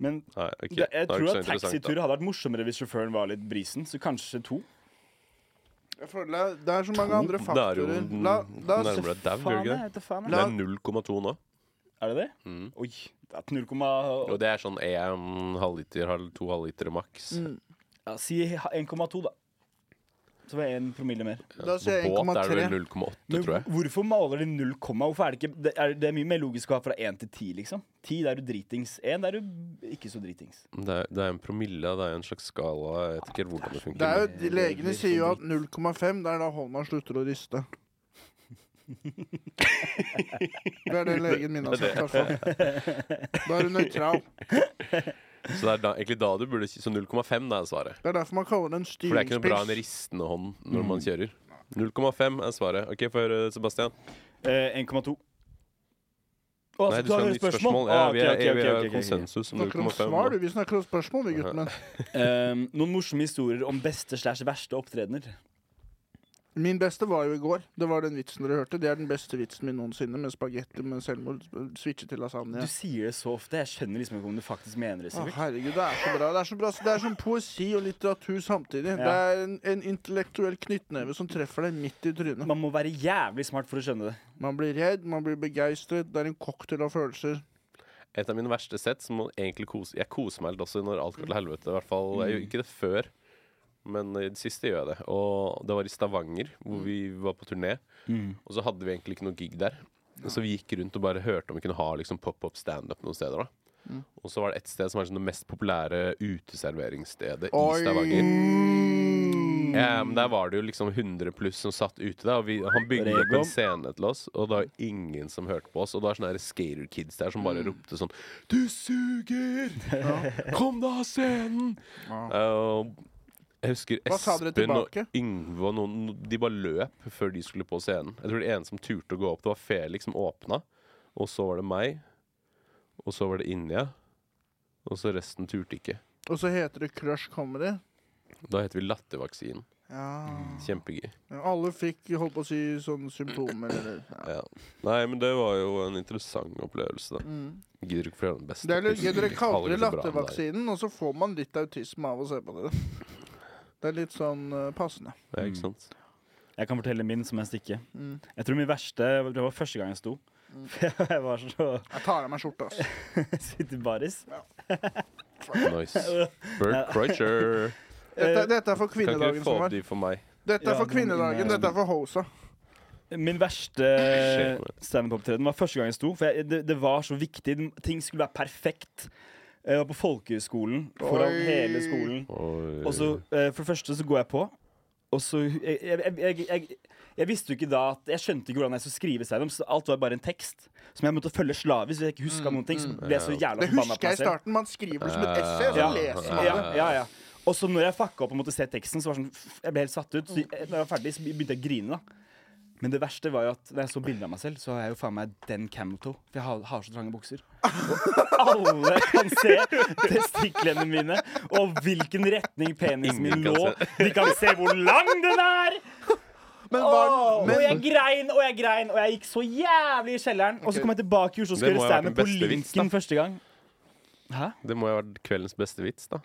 Men
Nei, ok.
det, jeg
Da er
tror
det
at
ikke så interessant, da.
taxitur hadde vært morsommere hvis sjåføren var litt brisen. Så kanskje to.
Jeg føler det er- det er så mange andre
Da er jo
faktorer.
den-
La, la oss
nærmere deg dau,
Faen,
gjør det
jeg
ikke det?
vet da faen.
Det
jeg.
er 0,2 nå.
Er det det?
Mm.
Oi. Det er 0,8
Og det er sånn 1 halvliter, halv- to halvlitere maks.
Mm.
ja, Si 1,2, da. Så var det én promille mer.
Da sier jeg
Båt er det
1,3.
vel 0,8,
Men
tror jeg.
hvorfor maler de 0, hvorfor er det ikke det er, det er mye mer logisk å ha fra 1 til 10, liksom. 10 der er du dritings. 1 der er du ikke så dritings.
Det er, det er en promille, det er en slags skala. Jeg vet ikke helt hvordan det
Det
funker.
er jo, de legene sier jo at 0,5 det er da hånda slutter å riste. Det er det legen min har sagt. i hvert fall. Da er du nøytral.
Så det er da, egentlig da du burde Så 0,5 da er svaret.
Det er derfor man kaller det en
For det er ikke noe bra en
styringspils.
ristende hånd når man kjører. 0,5 er svaret. OK, få høre, Sebastian.
Eh, 1,2. Å,
Nei,
altså,
du skal ha
et
nytt spørsmål. Ja,
Ah, ok,
vi er,
ok,
vi
ok,
er
ok, ok, ok.
konsensus om
Snakker om
0,5.
svar, du.
nå.
Vi snakker om spørsmål, vi, gutten min.
Ehm, noen morsomme historier om beste slash verste opptredener.
Min beste var jo i går. Det var den vitsen dere hørte. Det er den beste vitsen min noensinne, med spagetti med selvmord. Switche til lasagne.
Du sier det så ofte. Jeg skjønner liksom ikke om du faktisk mener det.
Å,
Sivert.
herregud, det er så bra. Det er, så bra. det er som poesi og litteratur samtidig. Det er en, en intellektuell knyttneve som treffer deg midt i trynet.
Man må være jævlig smart for å skjønne det.
Man blir redd, man blir begeistret. Det er en cocktail av følelser.
Et av mine verste sett som må egentlig kose Jeg koser meg litt også når alt går til helvete. I hvert fall, Jeg gjør ikke det før, men i det siste gjør jeg det. Og det var i Stavanger, hvor vi var på turné. Og så hadde vi egentlig ikke noe gig der. Så vi gikk rundt og bare hørte om vi kunne ha liksom pop-up standup noen steder. da Og så var det et sted som var sånn det mest populære uteserveringsstedet
Oi.
i Stavanger.
Mm.
Ja, men der var det jo liksom 100 pluss som satt ute. da og vi, Han bygde opp
Regom.
en scene til oss, og det var ingen som hørte på oss. Og det var sånne her skater kids der som
Mm.
bare ropte sånn Du suger! Kom deg av scenen! Eh, og Jeg husker
Hva sa dere
Espen og
tilbake?
Yngve og noen De bare løp før de skulle på scenen. Jeg tror det ene som turte å gå opp, det var Felix som åpna. Og så var det meg. Og så var det Inja. Og så resten turte ikke.
Og så heter det Crush Comedy.
Da heter vi Lattervaksinen.
Ja.
Kjempegøy.
Alle fikk holdt på å si sånne symptomer eller ja.
Ja. Nei, men det var jo en interessant opplevelse, da.
mm.
Gidder ikke fortelle den beste.
Det er litt gøy. Dere
Jeg
kaller det
så liksom bra med deg.
lattervaksinen, og så får man litt autisme av å se på dere. Det er litt sånn eh, passende.
Ja, ikke sant?
Jeg kan fortelle min som helst ikke.
Mm.
Jeg tror min verste Det var første gang jeg sto. For jeg var så
Jeg tar av meg skjorta, ass.
Sitter i baris.
Mm.
Nice. Bert Kreutzer.
Dette, dette er for
Eh, Kan ikke du
kvinnedagen
få
som
opp
var.
de for meg?
Dette
Ja,
er for
den inne-
kvinnedagen, dette er for hosa.
Min verste standup-opptreden var første gang jeg sto. For jeg, det, det var så viktig. Den- Ting skulle være perfekt. Jeg var på folkehøyskolen foran
Oi.
hele skolen.
Oi.
Og så, eh, for det første så går jeg på, og så Jeg, jeg, jeg, jeg, jeg visste jo ikke da at Jeg skjønte ikke hvordan jeg skulle skrive standup, så alt var bare en tekst som jeg måtte følge slavisk. Hvis jeg ikke huska noen ting, så ble jeg så jævla
Mm, Det
forbanna
husker
på
jeg i
meg selv.
starten. Man skriver det som
Eh,
et essay, og så
Ja.
leser man
Ja,
det.
ja, ja. Og så når jeg fucka opp og måtte se teksten, så var det sånn, f- jeg ble helt satt ut. Så jeg- når jeg var ferdig, så begynte jeg å grine. da men det verste var jo at når jeg så bildet av meg selv, så har jeg jo faen meg den camel toe. For jeg har, har så trange bukser. Og alle kan se testiklene mine og hvilken retning penisen min
Ingen kan
lå. De kan se hvor lang den er!
Men,
Åh,
var,
og jeg
men,
grein og jeg grein, og jeg gikk så jævlig i kjelleren. Og så kom jeg tilbake i Oslo og
Det
skulle gjøre
må jo ha vært den
standup på
beste vits, da.
Linken første gang. Hæ?
Det må jo ha vært kveldens beste vits, da.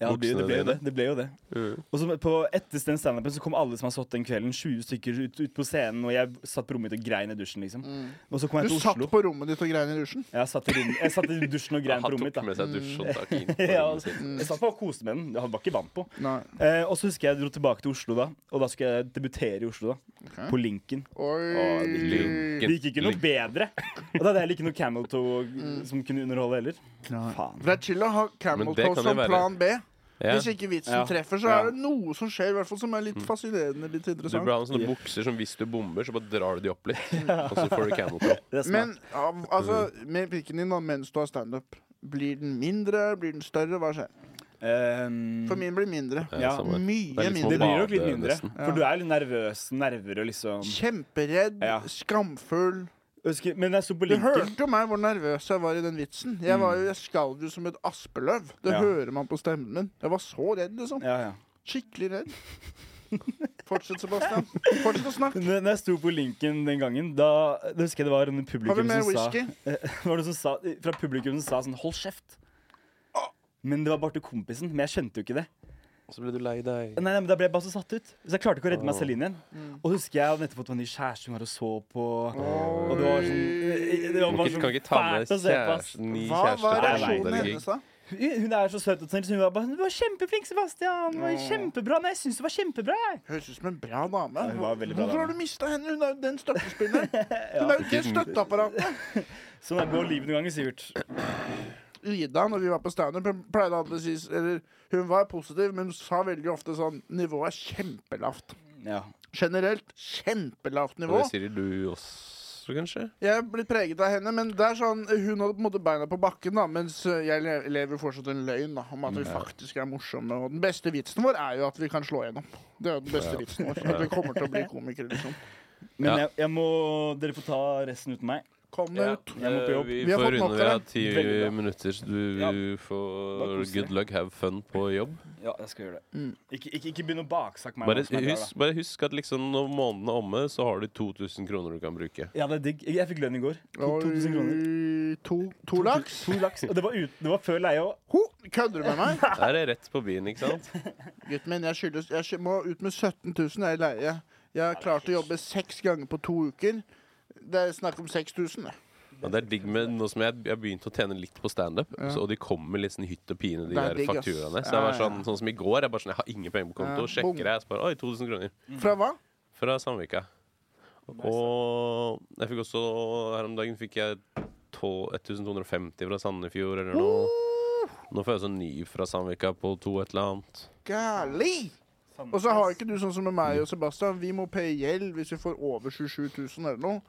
Ja, det ble, det ble jo det. det, ble jo det.
Mm.
Og så på etter den standupen så kom alle som har stått den kvelden, 20 stykker ut, ut på scenen, og jeg satt på rommet mitt og grein i dusjen, liksom. Og så kom jeg
Mm. du
til
satt
Oslo.
på rommet ditt og grein i dusjen?
Jeg satt, i rom, jeg satt i dusjen og grein
Han
på rommet mitt.
tok
da Mm.
med seg dusjhåndtaket inn. på
ja, altså,
rommet sitt.
Jeg satt bare og koste med den. Han var ikke vant på.
Mm. Nei.
Eh, og så husker jeg jeg dro tilbake til Oslo da, og da skulle jeg debutere i Oslo. da
Ok.
På Linken.
Å,
Oi.
Lincoln.
Det gikk ikke noe
Link.
bedre. Og da hadde jeg heller ikke noe Camel Toe
Mm.
som kunne underholde heller. Faen.
Det er chill å ha Camel
Men det
Toe
kan jo
som
være-
plan B.
Ja. Mm.
Hvis ikke vitsen
Ja.
treffer, så
Ja.
er det noe som skjer i hvert fall som er litt fascinerende. litt
Du burde
interessant
ha noen sånne bukser som hvis du bomber, så bare drar du de opp litt. Og så får du camel toe.
Det er smart.
Men av- altså, med pikken din da, mens du har standup, blir den mindre? Blir den større? Hva skjer?
Ehm,
For min blir mindre.
Ja,
samme. Det
Mye
er
det
litt sånn-
mindre.
blir nok litt
Bade,
mindre.
nesten.
For du er jo litt nervøs. Nerver og liksom
Kjemperedd,
Ja.
skamfull.
Jeg husker- Men jeg sto på
Du
Linken.
hørte jo meg hvor nervøs jeg var i den vitsen. Jeg, var
Mm.
jo, jeg skalv jo som et aspeløv. Det
Ja.
hører man på stemmen min. Jeg var så redd, liksom.
Ja, ja.
Skikkelig redd. Fortsett, Sebastian. Fortsett å snakke.
Når når jeg sto på Linken den gangen, da, da husker jeg det var en
Har vi
publikum
mer
som sa,
whisky?
det var noen som sa Fra publikum som sa sånn Hold kjeft. Men det var bare til kompisen. Men jeg skjønte jo ikke det.
Så ble du lei deg.
Nei, nei, men Da ble jeg bare så satt ut. Så jeg klarte ikke å redde meg selv inn igjen. Og så husker jeg hadde nettopp fått meg en ny kjæreste hun var og så på. Og det var sånn Det var
Må
bare
ikke,
sånn
kan ikke ta med
fælt å se på. ass.
kjæresten ny
Hva var
Nei, nei,
reaksjonen
kjæreste.
hennes, da?
Hun hun er så søt og snill, så hun var bare sånn Du var kjempeflink, Sebastian. Du var kjempebra. Nei, jeg syns du var kjempebra, jeg.
Høres ut som en bra dame.
hun var veldig bra
Hvorfor har
dame.
du mista henne? Hun er jo den støttespilleren. Hun er jo ikke i støtteapparatet.
Sånn er det med livet noen ganger, Sivert.
Ida, når vi var på standup, hun pleide alltid å si Eller hun var positiv, men hun sa veldig ofte sånn Nivået er kjempelavt.
Ja.
Generelt kjempelavt
Og
nivå.
det sier du også, kanskje?
Jeg er blitt preget av henne, men det er sånn hun hadde på en måte beina på bakken, da, mens eh, jeg le- lever fortsatt en løgn da, om at vi faktisk er morsomme. Og den beste vitsen vår er jo at vi kan slå igjennom. Det er jo den beste vitsen vår. At vi kommer til å bli komikere, liksom.
Men
Ja.
jeg, jeg må Dere får ta resten uten meg.
Kom deg ut.
Jeg må på jobb.
Eh, Vi
Vi har
får
fått nok
runde.
av
Vi har
det.
ti
Veldig bra.
minutter, så du
Ja. var
får
koselig.
good luck, have fun på jobb.
Ja, jeg skal gjøre det.
Mm.
Ikke, ikke, ikke begynn å baksakke meg.
Bare
nå som jeg drar, da.
husk, bare husk at liksom når måneden er omme, så har du 2000 kroner du kan bruke.
Ja, det er digg. Jeg, jeg fikk lønn i går. To- 2000 kroner.
Oi, To, to laks?
To laks. Og det var, ut, det var før leie òg.
Ho, kødder du med meg?
Der er rett på byen, ikke sant?
Gutten min, jeg, skyldes, jeg sky- må ut med 17 000, jeg er leie. Jeg har klart å jobbe seks ganger på to uker. Det er snakk om 6000, det.
Ja, det er digg med Nå som jeg, jeg har begynt å tjene litt på standup, så- og de kommer litt sånn i hytt og pine, de
Det er
der
digg, ass.
fakturaene. Så
Ja,
jeg var
ja,
sånn, sånn som i går. Jeg bare sånn, jeg har ingen penger på konto.
Ja,
Sjekker
bom.
jeg, så bare Oi, 2000 kroner.
Fra hva?
Fra Sandvika. Og jeg fikk også Her om dagen fikk jeg to- 1250 fra Sandefjord eller noe. Nå får jeg sånn ny fra Sandvika på to et eller annet.
Gærlig! Og så har ikke du sånn som med meg og Sebastian. Vi må paye gjeld hvis vi får over 27 000 eller noe.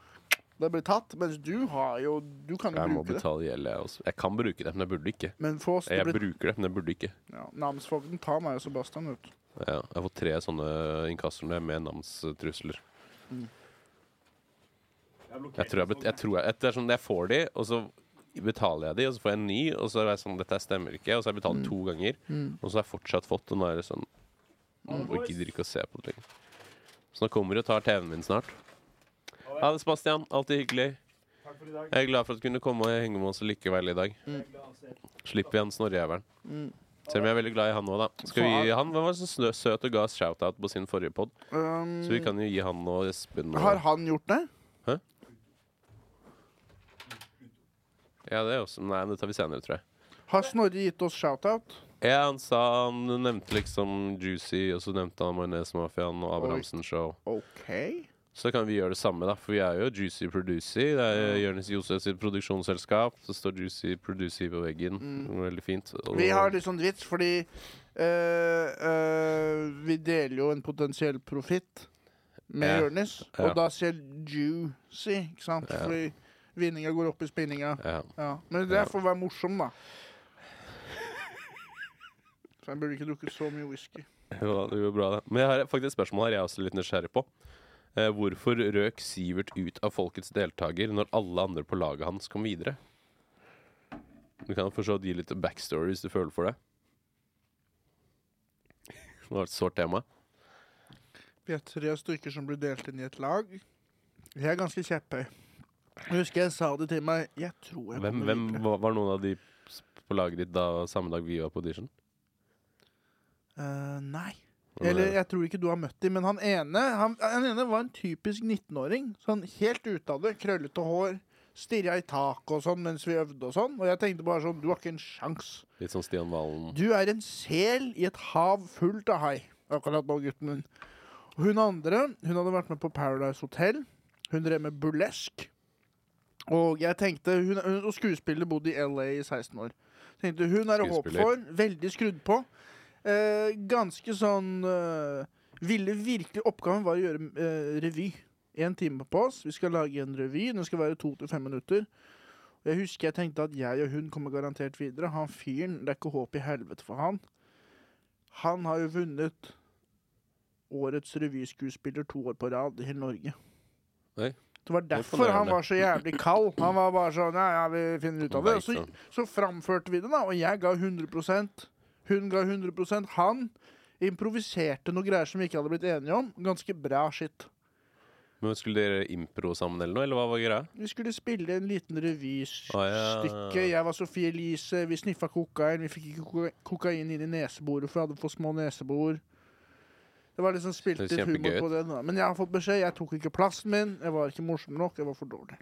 Det blir tatt. Mens du har jo Du kan jo
Jeg må
bruke det.
betale gjeld, jeg også. Jeg kan bruke det, men jeg burde ikke.
Men få oss det
Jeg
blir,
bruker det, men jeg burde ikke.
ja, Namsfogden tar meg og Sebastian ut.
Ja, jeg har fått tre sånne inkassoer nå, med namstrusler. Jeg tror jeg, bet- jeg, tror jeg, jeg, det er sånn, jeg får de, og så betaler jeg de, og så får jeg en ny, og så er jeg sånn Dette her stemmer ikke, og så har jeg betalt
Mm.
to ganger, og så har jeg fortsatt fått, og nå er det sånn Og jeg gidder ikke å se på det lenger. Så nå kommer de og tar TV-en min snart. Ha det, Sebastian. Alltid hyggelig.
Takk for i dag.
Jeg er glad for at du kunne komme og henge med oss likevel i dag. Slipper vi han snorrejævelen.
Mm.
Selv om jeg er veldig glad i han òg, da. Skal vi gi han, Hvem var så snø- søt og ga oss shout-out på sin forrige pod?
Um,
Så vi kan jo gi han og Espen og
har han gjort det?
Ja, det er også Nei, det tar vi senere, tror jeg.
Har Snorre gitt oss shout-out?
Ja, han sa Han nevnte liksom Juicy, og så nevnte han Majones-mafiaen og Abrahamsen Show.
OK.
Så kan vi gjøre det samme, da. For vi er jo Juicy Producy. Det er Jonis Josef sitt produksjonsselskap. Så står Juicy Producy på veggen. Veldig fint. Og-
Mm. Vi har litt sånn vits, fordi eh, eh, vi deler jo en potensiell profitt med
Ja.
Jonis.
Ja.
Og da ser juicy, ikke sant?
Ja.
Fordi vinninga går opp i spinninga.
ja.
Ja. Men det er for å være morsom, da. Så jeg burde ikke drukket så mye whisky.
Ja, det går bra, det. Men jeg har faktisk et spørsmål her jeg er også litt nysgjerrig på. Eh, hvorfor røk Sivert ut av Folkets deltaker når alle andre på laget hans kom videre? Du kan for så vidt gi litt backstory hvis du føler for det. Det var et sårt tema.
Vi er tre stykker som blir delt inn i et lag. Jeg er ganske kjepphøy. Jeg husker jeg sa det til meg Jeg tror jeg
Hvem,
kommer
hvem
videre.
var var noen av de på laget ditt da samme dag vi var på audition?
Eh, nei.
Hvem er
Eller
det?
jeg tror ikke du har møtt dem, men han ene, han, han ene var en typisk 19-åring. Sånn helt ute av det. Krøllete hår. Stirra i taket og sånn mens vi øvde og sånn. Og jeg tenkte bare sånn Du har ikke en sjans.
Litt sånn Stian Valen.
Du er en sel i et hav fullt av hai. Akkurat nå, gutten min. Og Hun andre hun hadde vært med på Paradise Hotel. Hun drev med burlesk. Og jeg tenkte, hun, hun, og skuespiller bodde i LA i 16 år. Tenkte Hun er å håpe
Skuespiller.
for. Veldig skrudd på. Eh, ganske sånn eh, Ville virkelig Oppgaven var å gjøre eh, revy. Én time på oss. Vi skal lage en revy. Den skal være to til fem minutter. Og Jeg husker jeg tenkte at jeg og hun kommer garantert videre. Han fyren, det er ikke håp i helvete for han. Han har jo vunnet årets revyskuespiller to år på rad i hele Norge.
Oi.
Det var derfor han var så jævlig kald. Han var bare sånn Ja, ja, vi finner ut av det. Og så, så framførte vi det, da. Og jeg ga 100 Hun ga 100 Han improviserte noe greier som vi ikke hadde blitt enige om. Ganske bra shit.
Men skulle dere impro sammen eller noe, eller hva var greia?
Vi skulle spille en liten revystykke.
Å, ja.
Jeg var Sofie Elise, vi sniffa kokain. Vi fikk ikke koka- kokain inn i neseboret, for jeg hadde for små nesebor. Det var liksom spilt
Det er
litt humor
kjempegøy
på det. Da. Men jeg har fått beskjed. Jeg tok ikke plassen min. Jeg var ikke morsom nok. Jeg var for dårlig.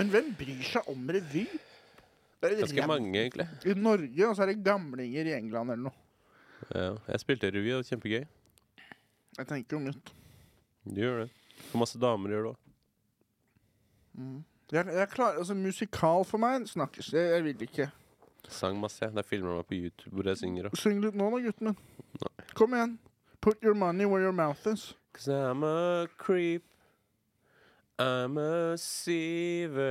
Men hvem bryr seg om revy? Det er
Ganske
rem-
mange, egentlig.
I Norge, og så er det gamlinger i England eller noe.
Ja. Jeg spilte revy, og det var kjempegøy.
Jeg tenker jo nytt.
Du gjør det. Og masse damer gjør det òg.
Mm. Jeg, jeg klarer, altså Musikal for meg snakkes. Jeg, jeg vil ikke.
Sang masse. jeg. Det er filmer meg på YouTube hvor jeg synger. Og.
Syng litt nå da, gutten min. Kom igjen. Put your money where your mouth is.
Cause I'm a creep. I'm a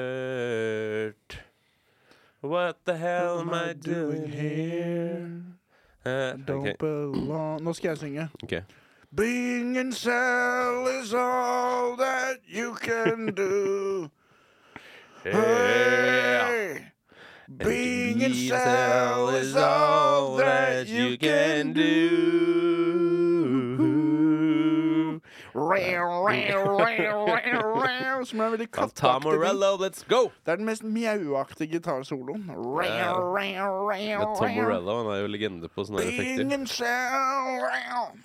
Sivert. What the hell am I doing here? Eh,
Don't
ok,
belong Nå skal jeg synge.
ok.
Being in cell is all that you can do. Hey! Being in cell is all that you can do. Reow, reow, reow, reow, reow, Som er en veldig
Av Tom
katteaktig. ting.
Morello, let's go!
Det er den mest mjauaktige gitarsoloen. Reow,
Ja,
reow, reow,
Tom
reow.
Morello han er jo legende på sånne her effekter.
Ingen sound.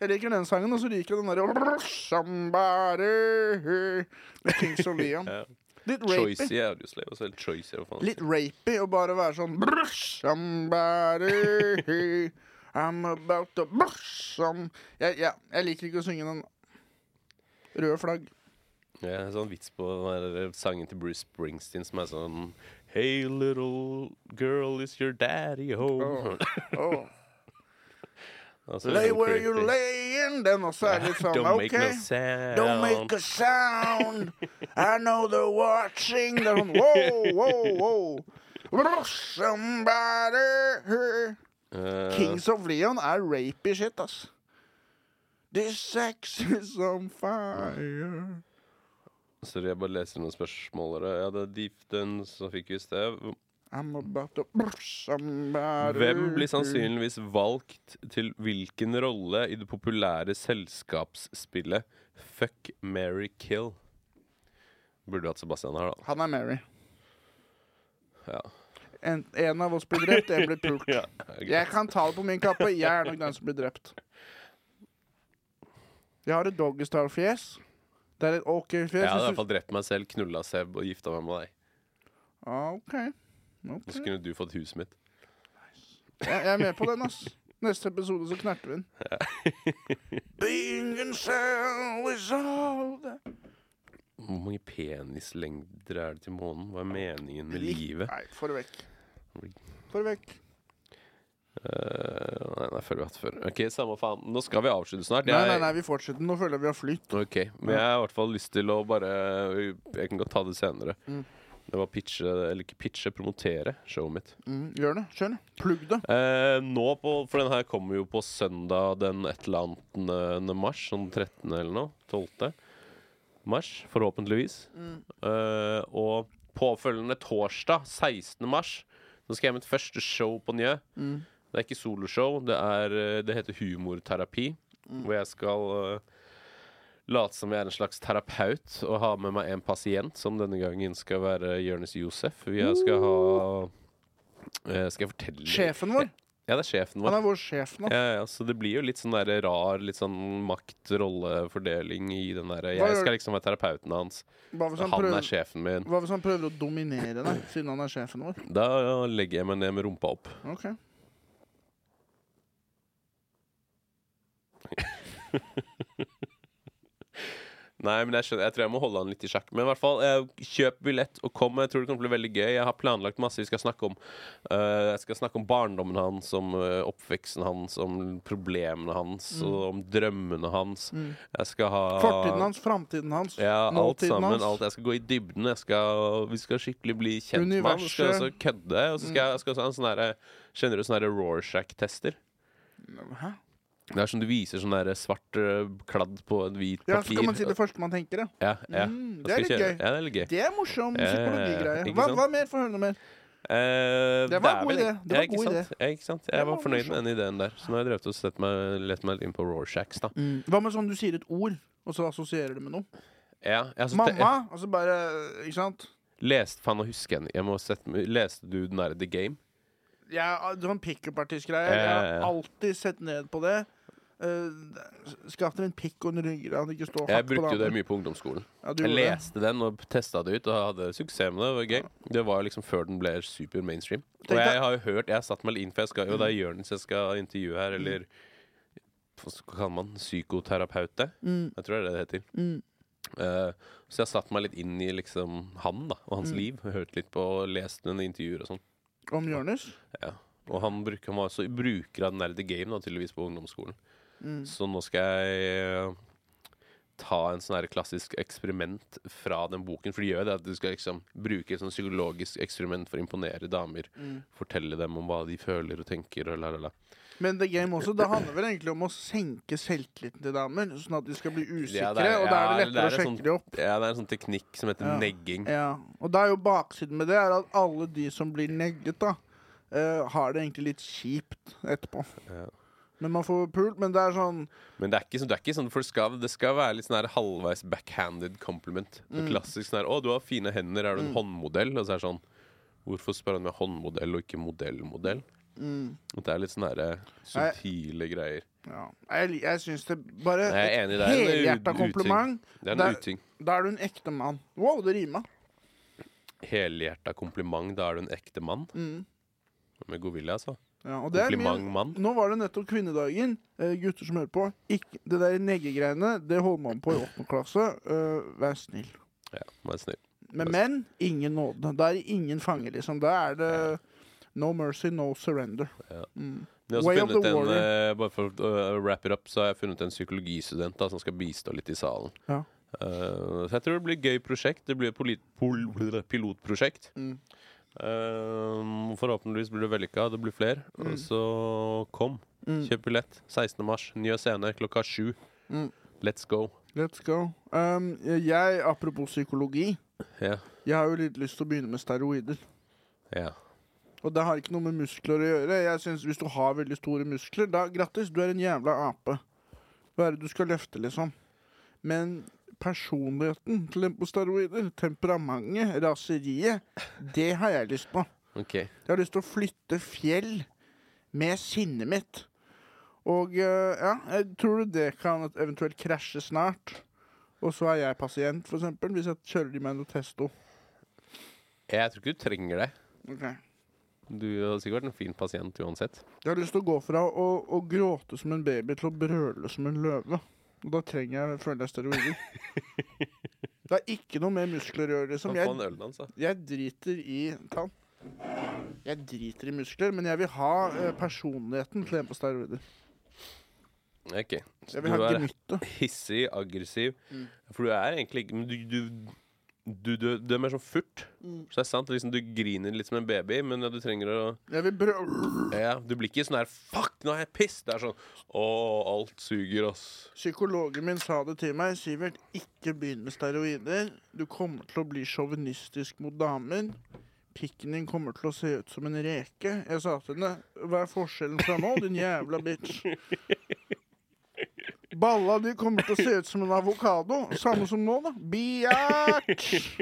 Jeg liker den sangen, og så liker jeg den derre Somebody Med Kings of Leon.
Ja.
Litt rapey.
Choicy er det jo slave. Og så er det choicy, hva faen.
Litt rapey å bare være sånn Somebody I'm about to some. jeg, jeg, jeg liker ikke å synge den. Røde flagg.
Ja, en sånn vits på den der sangen til Bruce Springsteen som er sånn Hey little girl, is your daddy home?
Åh.
Altså,
Lay
sånn
where you
creepy.
layin'. Den også er litt sånn
Don't
OK.
make no sound.
Don't make a sound. I know they're watching. Det er sånn wow, wow, wow. Somebody
Eh,
Kings of Leon er rapey shit, ass. This sex is on fire.
Sorry, jeg bare leser noen spørsmål. her. Ja, det er Deep Dun som fikk vi i sted.
I'm about to somebody.
Hvem blir sannsynligvis valgt til hvilken rolle i det populære selskapsspillet Fuck, marry, kill? Burde du hatt Sebastian her, da.
Han er Mary.
Ja.
En, en av oss blir drept, en blir pult. Jeg kan ta det på min kappe. Jeg er nok den som blir drept. Jeg har et doggystyle-fjes. Det er et OK-fjes.
Jeg hadde i
hvis
hvert fall drept meg selv, knulla Seb og gifta meg med deg.
du- Ah, OK.
Og
Ok.
så kunne du fått huset mitt.
Jeg, jeg er med på den, ass. Neste episode så knerter vi den. Being in cell is all that
Hvor mange penislengder er det til månen? Hva er meningen med
Lik-
livet?
Nei, få det vekk. Få det vekk.
Eh, nei, nei, føler vi har hatt før. Ok, Samme faen. Nå skal vi avslutte snart.
Nei, nei,
Jeg-
nei, vi fortsetter. Nå føler jeg vi har flytt.
Ok, men jeg har i hvert fall lyst til å bare Jeg kan godt ta det senere.
Mm.
Det var pitche, eller ikke pitche, promotere showet mitt.
Mm, gjør det. Kjør det. Plugg det.
Eh, nå på, For den her kommer jo på søndag den et eller annet eh, mars. Sånn 13. eller noe. 12. mars, forhåpentligvis. Eh, og påfølgende torsdag, 16. mars, så skal jeg mitt første show på Njø. Det er ikke soloshow, det, er, eh, det heter humorterapi. Hvor jeg skal eh, late som jeg er en slags terapeut og ha med meg en pasient, som denne gangen skal være Jonis Josef. Vi skal ha eh, Skal jeg fortelle
Sjefen vår.
Ja, det er sjefen vår.
Han er vår sjef nå.
Ja, ja, så det blir jo litt sånn der rar litt sånn makt-rollefordeling i den derre
Hva
Jeg
gjør-
skal liksom være terapeuten hans.
Hva hvis han
Han er
prøver,
sjefen min.
hva hvis han prøver å dominere deg, siden han er sjefen vår?
Da legger jeg meg ned med rumpa opp.
Ok.
Nei, men jeg skjønner Jeg tror jeg må holde han litt i sjakk. Men i hvert fall, eh, kjøp billett og kom. Jeg tror det kan bli veldig gøy. Jeg har planlagt masse vi skal snakke om. Eh, jeg skal snakke om barndommen hans, om eh, oppveksten hans, om problemene hans,
Mm.
og om drømmene hans. Jeg skal ha
Fortiden hans, framtiden hans,
Ja, alt
nåtiden
sammen. Alt.
hans.
Jeg skal gå i dybden. Jeg skal, vi skal skikkelig bli kjent med han. Så skal jeg også
Universet.
kødde. Og så skal jeg, jeg skal også ha en sånn derre- Kjenner du sånne derre Rorschach-tester?
Hæ?
Det er som du viser sånn derre svart øh, kladd på et hvit
Ja,
papir.
så kan man si det første man tenker, ja.
Ja, ja.
Mm,
Da skal
det er
jeg
litt
kjøre-
gøy.
Ja, det er litt gøy.
Det er morsom
Ja, ja, ja.
psykologigreie.
Ikke
Hva,
sant?
hva mer? Få høre noe mer.
Eh,
Det var en
vel-
god idé. Det
ja,
var en
ikke
god
sant? Ja, ikke sant? Jeg
Det
var
var
fornøyd med den ideen der. Så nå har jeg drevet og sett meg, lett meg inn på Rorschachs, da.
Hva med sånn du sier et ord, og så assosierer du med noe?
Ja, jeg har så- jeg
Mamma! Og så bare Ikke sant?
Leste, faen, nå husker jeg den. Jeg må sette, meg- leste du den derre The Game?
Jeg, sånn pickup-artist-greie.
Ja,
Jeg
ja, ja.
har alltid sett ned på det. Uh, Skaff deg en pikk og en ryggrad. Ikke stå
Jeg
hardt på
brukte jo det mye
andre.
på ungdomsskolen.
Ja, du
Jeg
gjorde det.
leste den og testa det ut, og hadde suksess med det. Det var gøy. Det var jo liksom før den ble super mainstream. Og
Tenk deg-
jeg har jo hørt Jeg har satt meg litt inn, for jeg skal jo Det er Jonis jeg skal intervjue her, eller hva kaller man psykoterapeut det?
Mm.
Jeg tror det er det det heter. Eh, så jeg har satt meg litt inn i liksom han da og hans
Mm.
liv. Hørt litt på lest noen intervjuer og sånn.
Om Jonis?
Ja. Og han, bruker, han var også bruker av den der The Game da, tydeligvis på ungdomsskolen.
Mm.
Så nå skal jeg eh, ta en sånn her klassisk eksperiment fra den boken. For de gjør jo det at du skal liksom bruke et sånn psykologisk eksperiment for å imponere damer.
Mm.
Fortelle dem om hva de føler og tenker og la, la, la.
Men The Game også, det handler vel egentlig om å senke selvtilliten til damer, sånn at de skal bli usikre,
Ja, det er-
og da er det
ja,
lettere
det er
å
sånn-
sjekke de opp.
Ja, det er en sånn teknikk som heter
Ja.
negging.
Ja, Og da er jo baksiden med det er at alle de som blir negget, da, eh, har det egentlig litt kjipt etterpå.
Ja.
Men man får pult, men det er sånn
Men det er ikke sånn, det er ikke sånn for det skal, det skal være litt sånn her halvveis backhanded compliment. Det Klassisk sånn her 'Å, du har fine hender. Er du en håndmodell?' Og så er det sånn Hvorfor spør han meg håndmodell og ikke modellmodell? At Det er litt sånne her, eh, subtile greier.
mm, ja. Jeg, li- jeg syns det
Nei,
bare
jeg er enig,
et
det er en
helhjerta
uting.
kompliment.
Det er en
Det er-
uting.
Da er du en ekte mann. Wow, det rima.
Helhjerta kompliment. Da er du en ekte mann. Med god vilje, altså.
Mm. Ja, og det er mye-
Kompliment, mann.
Nå var det nettopp kvinnedagen. Eh, gutter som hører på, ikke, det der neggegreiene, det holder man på i åttende klasse. Eh, vær snill.
Ja, vær snill.
Men menn, ingen nåde. Da er det ingen fange, liksom. Da er det no mercy, no surrender.
Jeg har også
Way of
funnet
the
en,
warrior.
eh, bare for å eh, wrap it up, så har jeg funnet en psykologistudent da, som skal bistå litt i salen.
Ja.
Eh, så jeg tror det blir et gøy prosjekt. Det blir et poli- pol pilotprosjekt.
Mm.
Eh, forhåpentligvis blir det vellykka. Det blir flere. Og Så kom.
Mm.
Kjøp billett. 16. mars. Nye scene klokka sju.
Mm.
Let's go.
Let's go. Um, jeg, apropos psykologi,
Ja.
jeg har jo litt lyst til å begynne med steroider.
Ja.
Og det har ikke noe med muskler å gjøre. Jeg synes Hvis du har veldig store muskler, da grattis, du er en jævla ape. Hva er det du skal løfte, liksom? Men personligheten til en på steroider, temperamentet, raseriet, det har jeg lyst på.
OK.
Jeg har lyst til å flytte fjell med sinnet mitt. Og eh, ja, jeg tror du det kan eventuelt krasje snart? Og så er jeg pasient, for eksempel, hvis jeg kjører de meg noe testo.
Jeg tror ikke du trenger det.
Ok.
Du har sikkert vært en fin pasient uansett.
Jeg har lyst til å gå fra å, å gråte som en baby til å brøle som en løve. Og da trenger jeg, føler jeg, steroider. det har ikke noe med muskler å gjøre, liksom.
Kan få en
Jeg,
øl, da, altså.
jeg driter i tann. Jeg driter i muskler, men jeg vil ha eh, personligheten til en på steroider.
Ok. Så
Jeg vil
du
ha
er
gemyttet.
hissig, aggressiv. For du er egentlig ikke Men du, du, du, du, du er mer sånn furt. Så det er sant, liksom, du griner litt som en baby, men ja, du trenger å
Jeg vil brøle
ja, Du blir ikke sånn her Fuck, nå er jeg piss! Det er sånn Å, alt suger, ass.
Psykologen min sa det til meg. Sivert, ikke begynn med steroider. Du kommer til å bli sjåvinistisk mot damer. Pikken din kommer til å se ut som en reke. Jeg sa til henne, hva er forskjellen fra nå, din jævla bitch? Balla di kommer til å se ut som en avokado. Samme som nå, da. Biatch!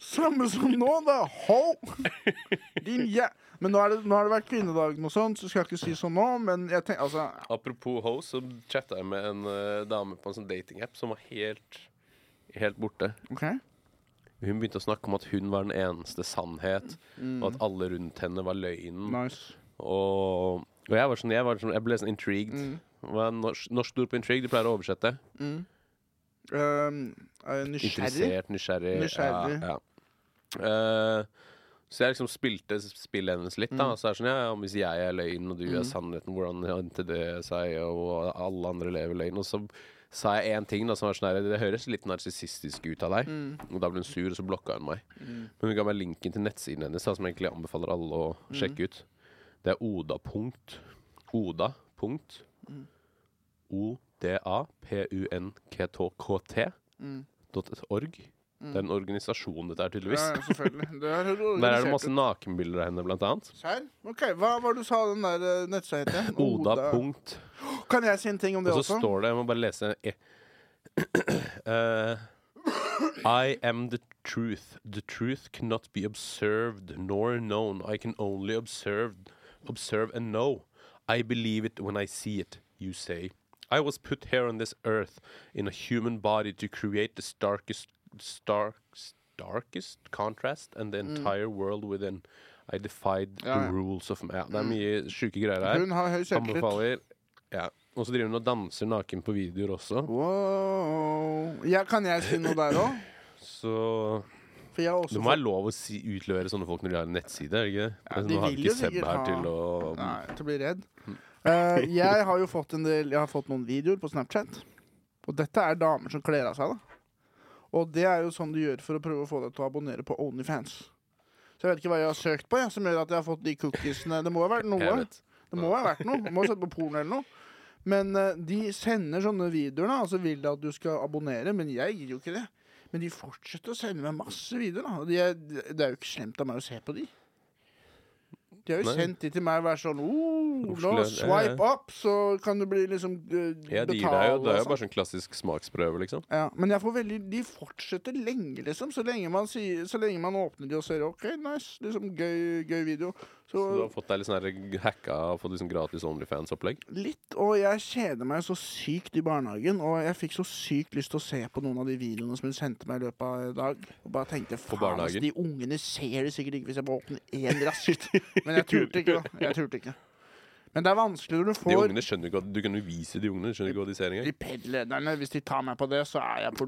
Samme som nå, da. Ho! Din jæ... Men nå har det, nå har det vært kvinnedagen og sånn, så skal jeg ikke si sånn nå, men jeg tenker altså
Apropos ho, så chatta jeg med en eh, dame på en sånn datingapp som var helt Helt borte.
OK?
Hun begynte å snakke om at hun var den eneste sannhet, og at alle rundt henne var løgnen.
Nice.
Og, og jeg, var sånn, jeg, var sånn, jeg ble sånn intrigued.
Mm.
Hva er norsk, norsk ord på intrigued? De pleier å oversette.
Ehm, er jeg nysgjerrig.
Interessert, nysgjerrig.
Nysgjerrig.
Ja, ja. Eh, så jeg liksom spilte spillet hennes litt.
Mm.
da Så er det sånn, ja, ja, Hvis jeg er løgn, og du er sannheten, hvordan endte det seg? Og alle andre lever løgn. Og så sa jeg én ting da som var sånn her Det høres litt narsissistisk ut av deg.
Mm.
Og da ble hun sur, og så blokka hun meg. Men hun ga meg linken til nettsiden hennes, da, som jeg egentlig anbefaler alle å sjekke ut. Det er Oda. Punkt. Oda. Punkt. O-D-A-P-U-N-K-T-K-T dot .org. Det er en organisasjon, dette er
Ja,
tydeligvis.
ja, selvfølgelig. Det er
Der er det masse nakenbilder av henne, blant annet.
Serr? OK, hva var det du sa den der eh, nettsida het igjen?
Oda. Punkt.
Kan jeg si en ting om det
Og så
også?
står det Jeg må bare lese e- Eh, I am the truth. The truth cannot be observed nor known. I can only observe, observe and know. I believe it when I see it, you say. I was put here on this earth in a human body to create the starkest, stark, starkest contrast and the entire world within. I defied
Ja, Mm. ja. Mm.
the rules of ma- Ja, det er mye sjuke greier her.
Hun har høy selvtillit.
Anbefaler. Ja. Og så driver hun og danser naken på videoer også.
Wow. Ja, kan jeg si noe der òg?
Så
For jeg har
det
også
må være lov å si, utlevere sånne folk når de har en nettside. er det Ikke? det?
de
Nå har
vil
ikke
jo
Seb
sikkert
her
ha-
til å
Nei, til å bli redd.
Mm.
Eh, jeg har jo fått en del Jeg har fått noen videoer på Snapchat. Og dette er damer som kler av seg, da. Og det er jo sånn du gjør for å prøve å få deg til å abonnere på Onlyfans. Så jeg vet ikke hva jeg har søkt på, jeg, som gjør at jeg har fått de cookiesene. Det må ha vært noe.
Jeg vet.
Det må ha vært noe. Man Må ha sett på porno eller noe. Men eh, de sender sånne videoer, da, og så vil de at du skal abonnere, men jeg gir jo ikke det. Men de fortsetter å sende meg masse videoer. da. Og De er, det er jo ikke slemt av meg å se på de. De har
Nei.
jo sendt de til meg og vært sånn oh, Nå
Oslo, ja,
swipe up, så kan du bli liksom eh,
Ja, de gir deg
betale
jo, det er jo
og sånn.
bare sånn klassisk smaksprøve, liksom.
Ja, men jeg får veldig, de fortsetter lenge, liksom. Så lenge man, sier, så lenge man åpner de og ser OK, nice, liksom gøy, gøy video.
Så du har fått deg litt sånn her hacka og fått liksom gratis Onlyfans-opplegg.
Litt, og jeg kjeder meg så sykt i barnehagen. Og jeg fikk så sykt lyst til å se på noen av de videoene som hun sendte meg i løpet av en dag. Og bare tenkte faen, ass,
barnehagen?
de ungene ser det sikkert ikke hvis jeg bare åpner én raskt. Men jeg turte ikke, da. Jeg turte ikke. Men det er vanskelig når du
De
får
ungene skjønner jo ikke at Du kan jo vise de ungene, de skjønner ikke hva de ser engang.
de pedlederne, hvis de tar meg på det, så er jeg på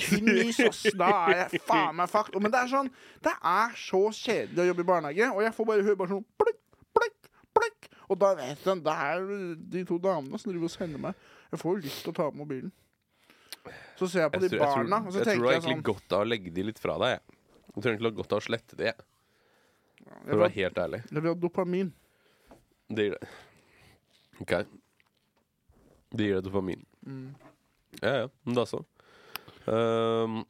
tynn is, ass. Da er jeg faen meg fucked. Og- Men det er sånn Det er så kjedelig å jobbe i barnehage, og jeg får bare høre bare sånn plukk, plukk, plukk. Og da vet jeg, det er de to damene som driver og sender meg. Jeg får jo lyst til å ta opp mobilen. Så ser jeg på
Jeg
de
tror, jeg tror,
barna, og så
jeg tror det
tenker
er
jeg
egentlig
sånn
godt av å legge de litt fra deg. Jeg, jeg tror egentlig det er godt av å slette de, jeg. for
Jeg
å
vil
være helt ærlig.
ha- jeg vil ha dopamin.
Det gir det. OK. Det gir det dopamin. Mm. Ja, ja. Men da så. Ehm,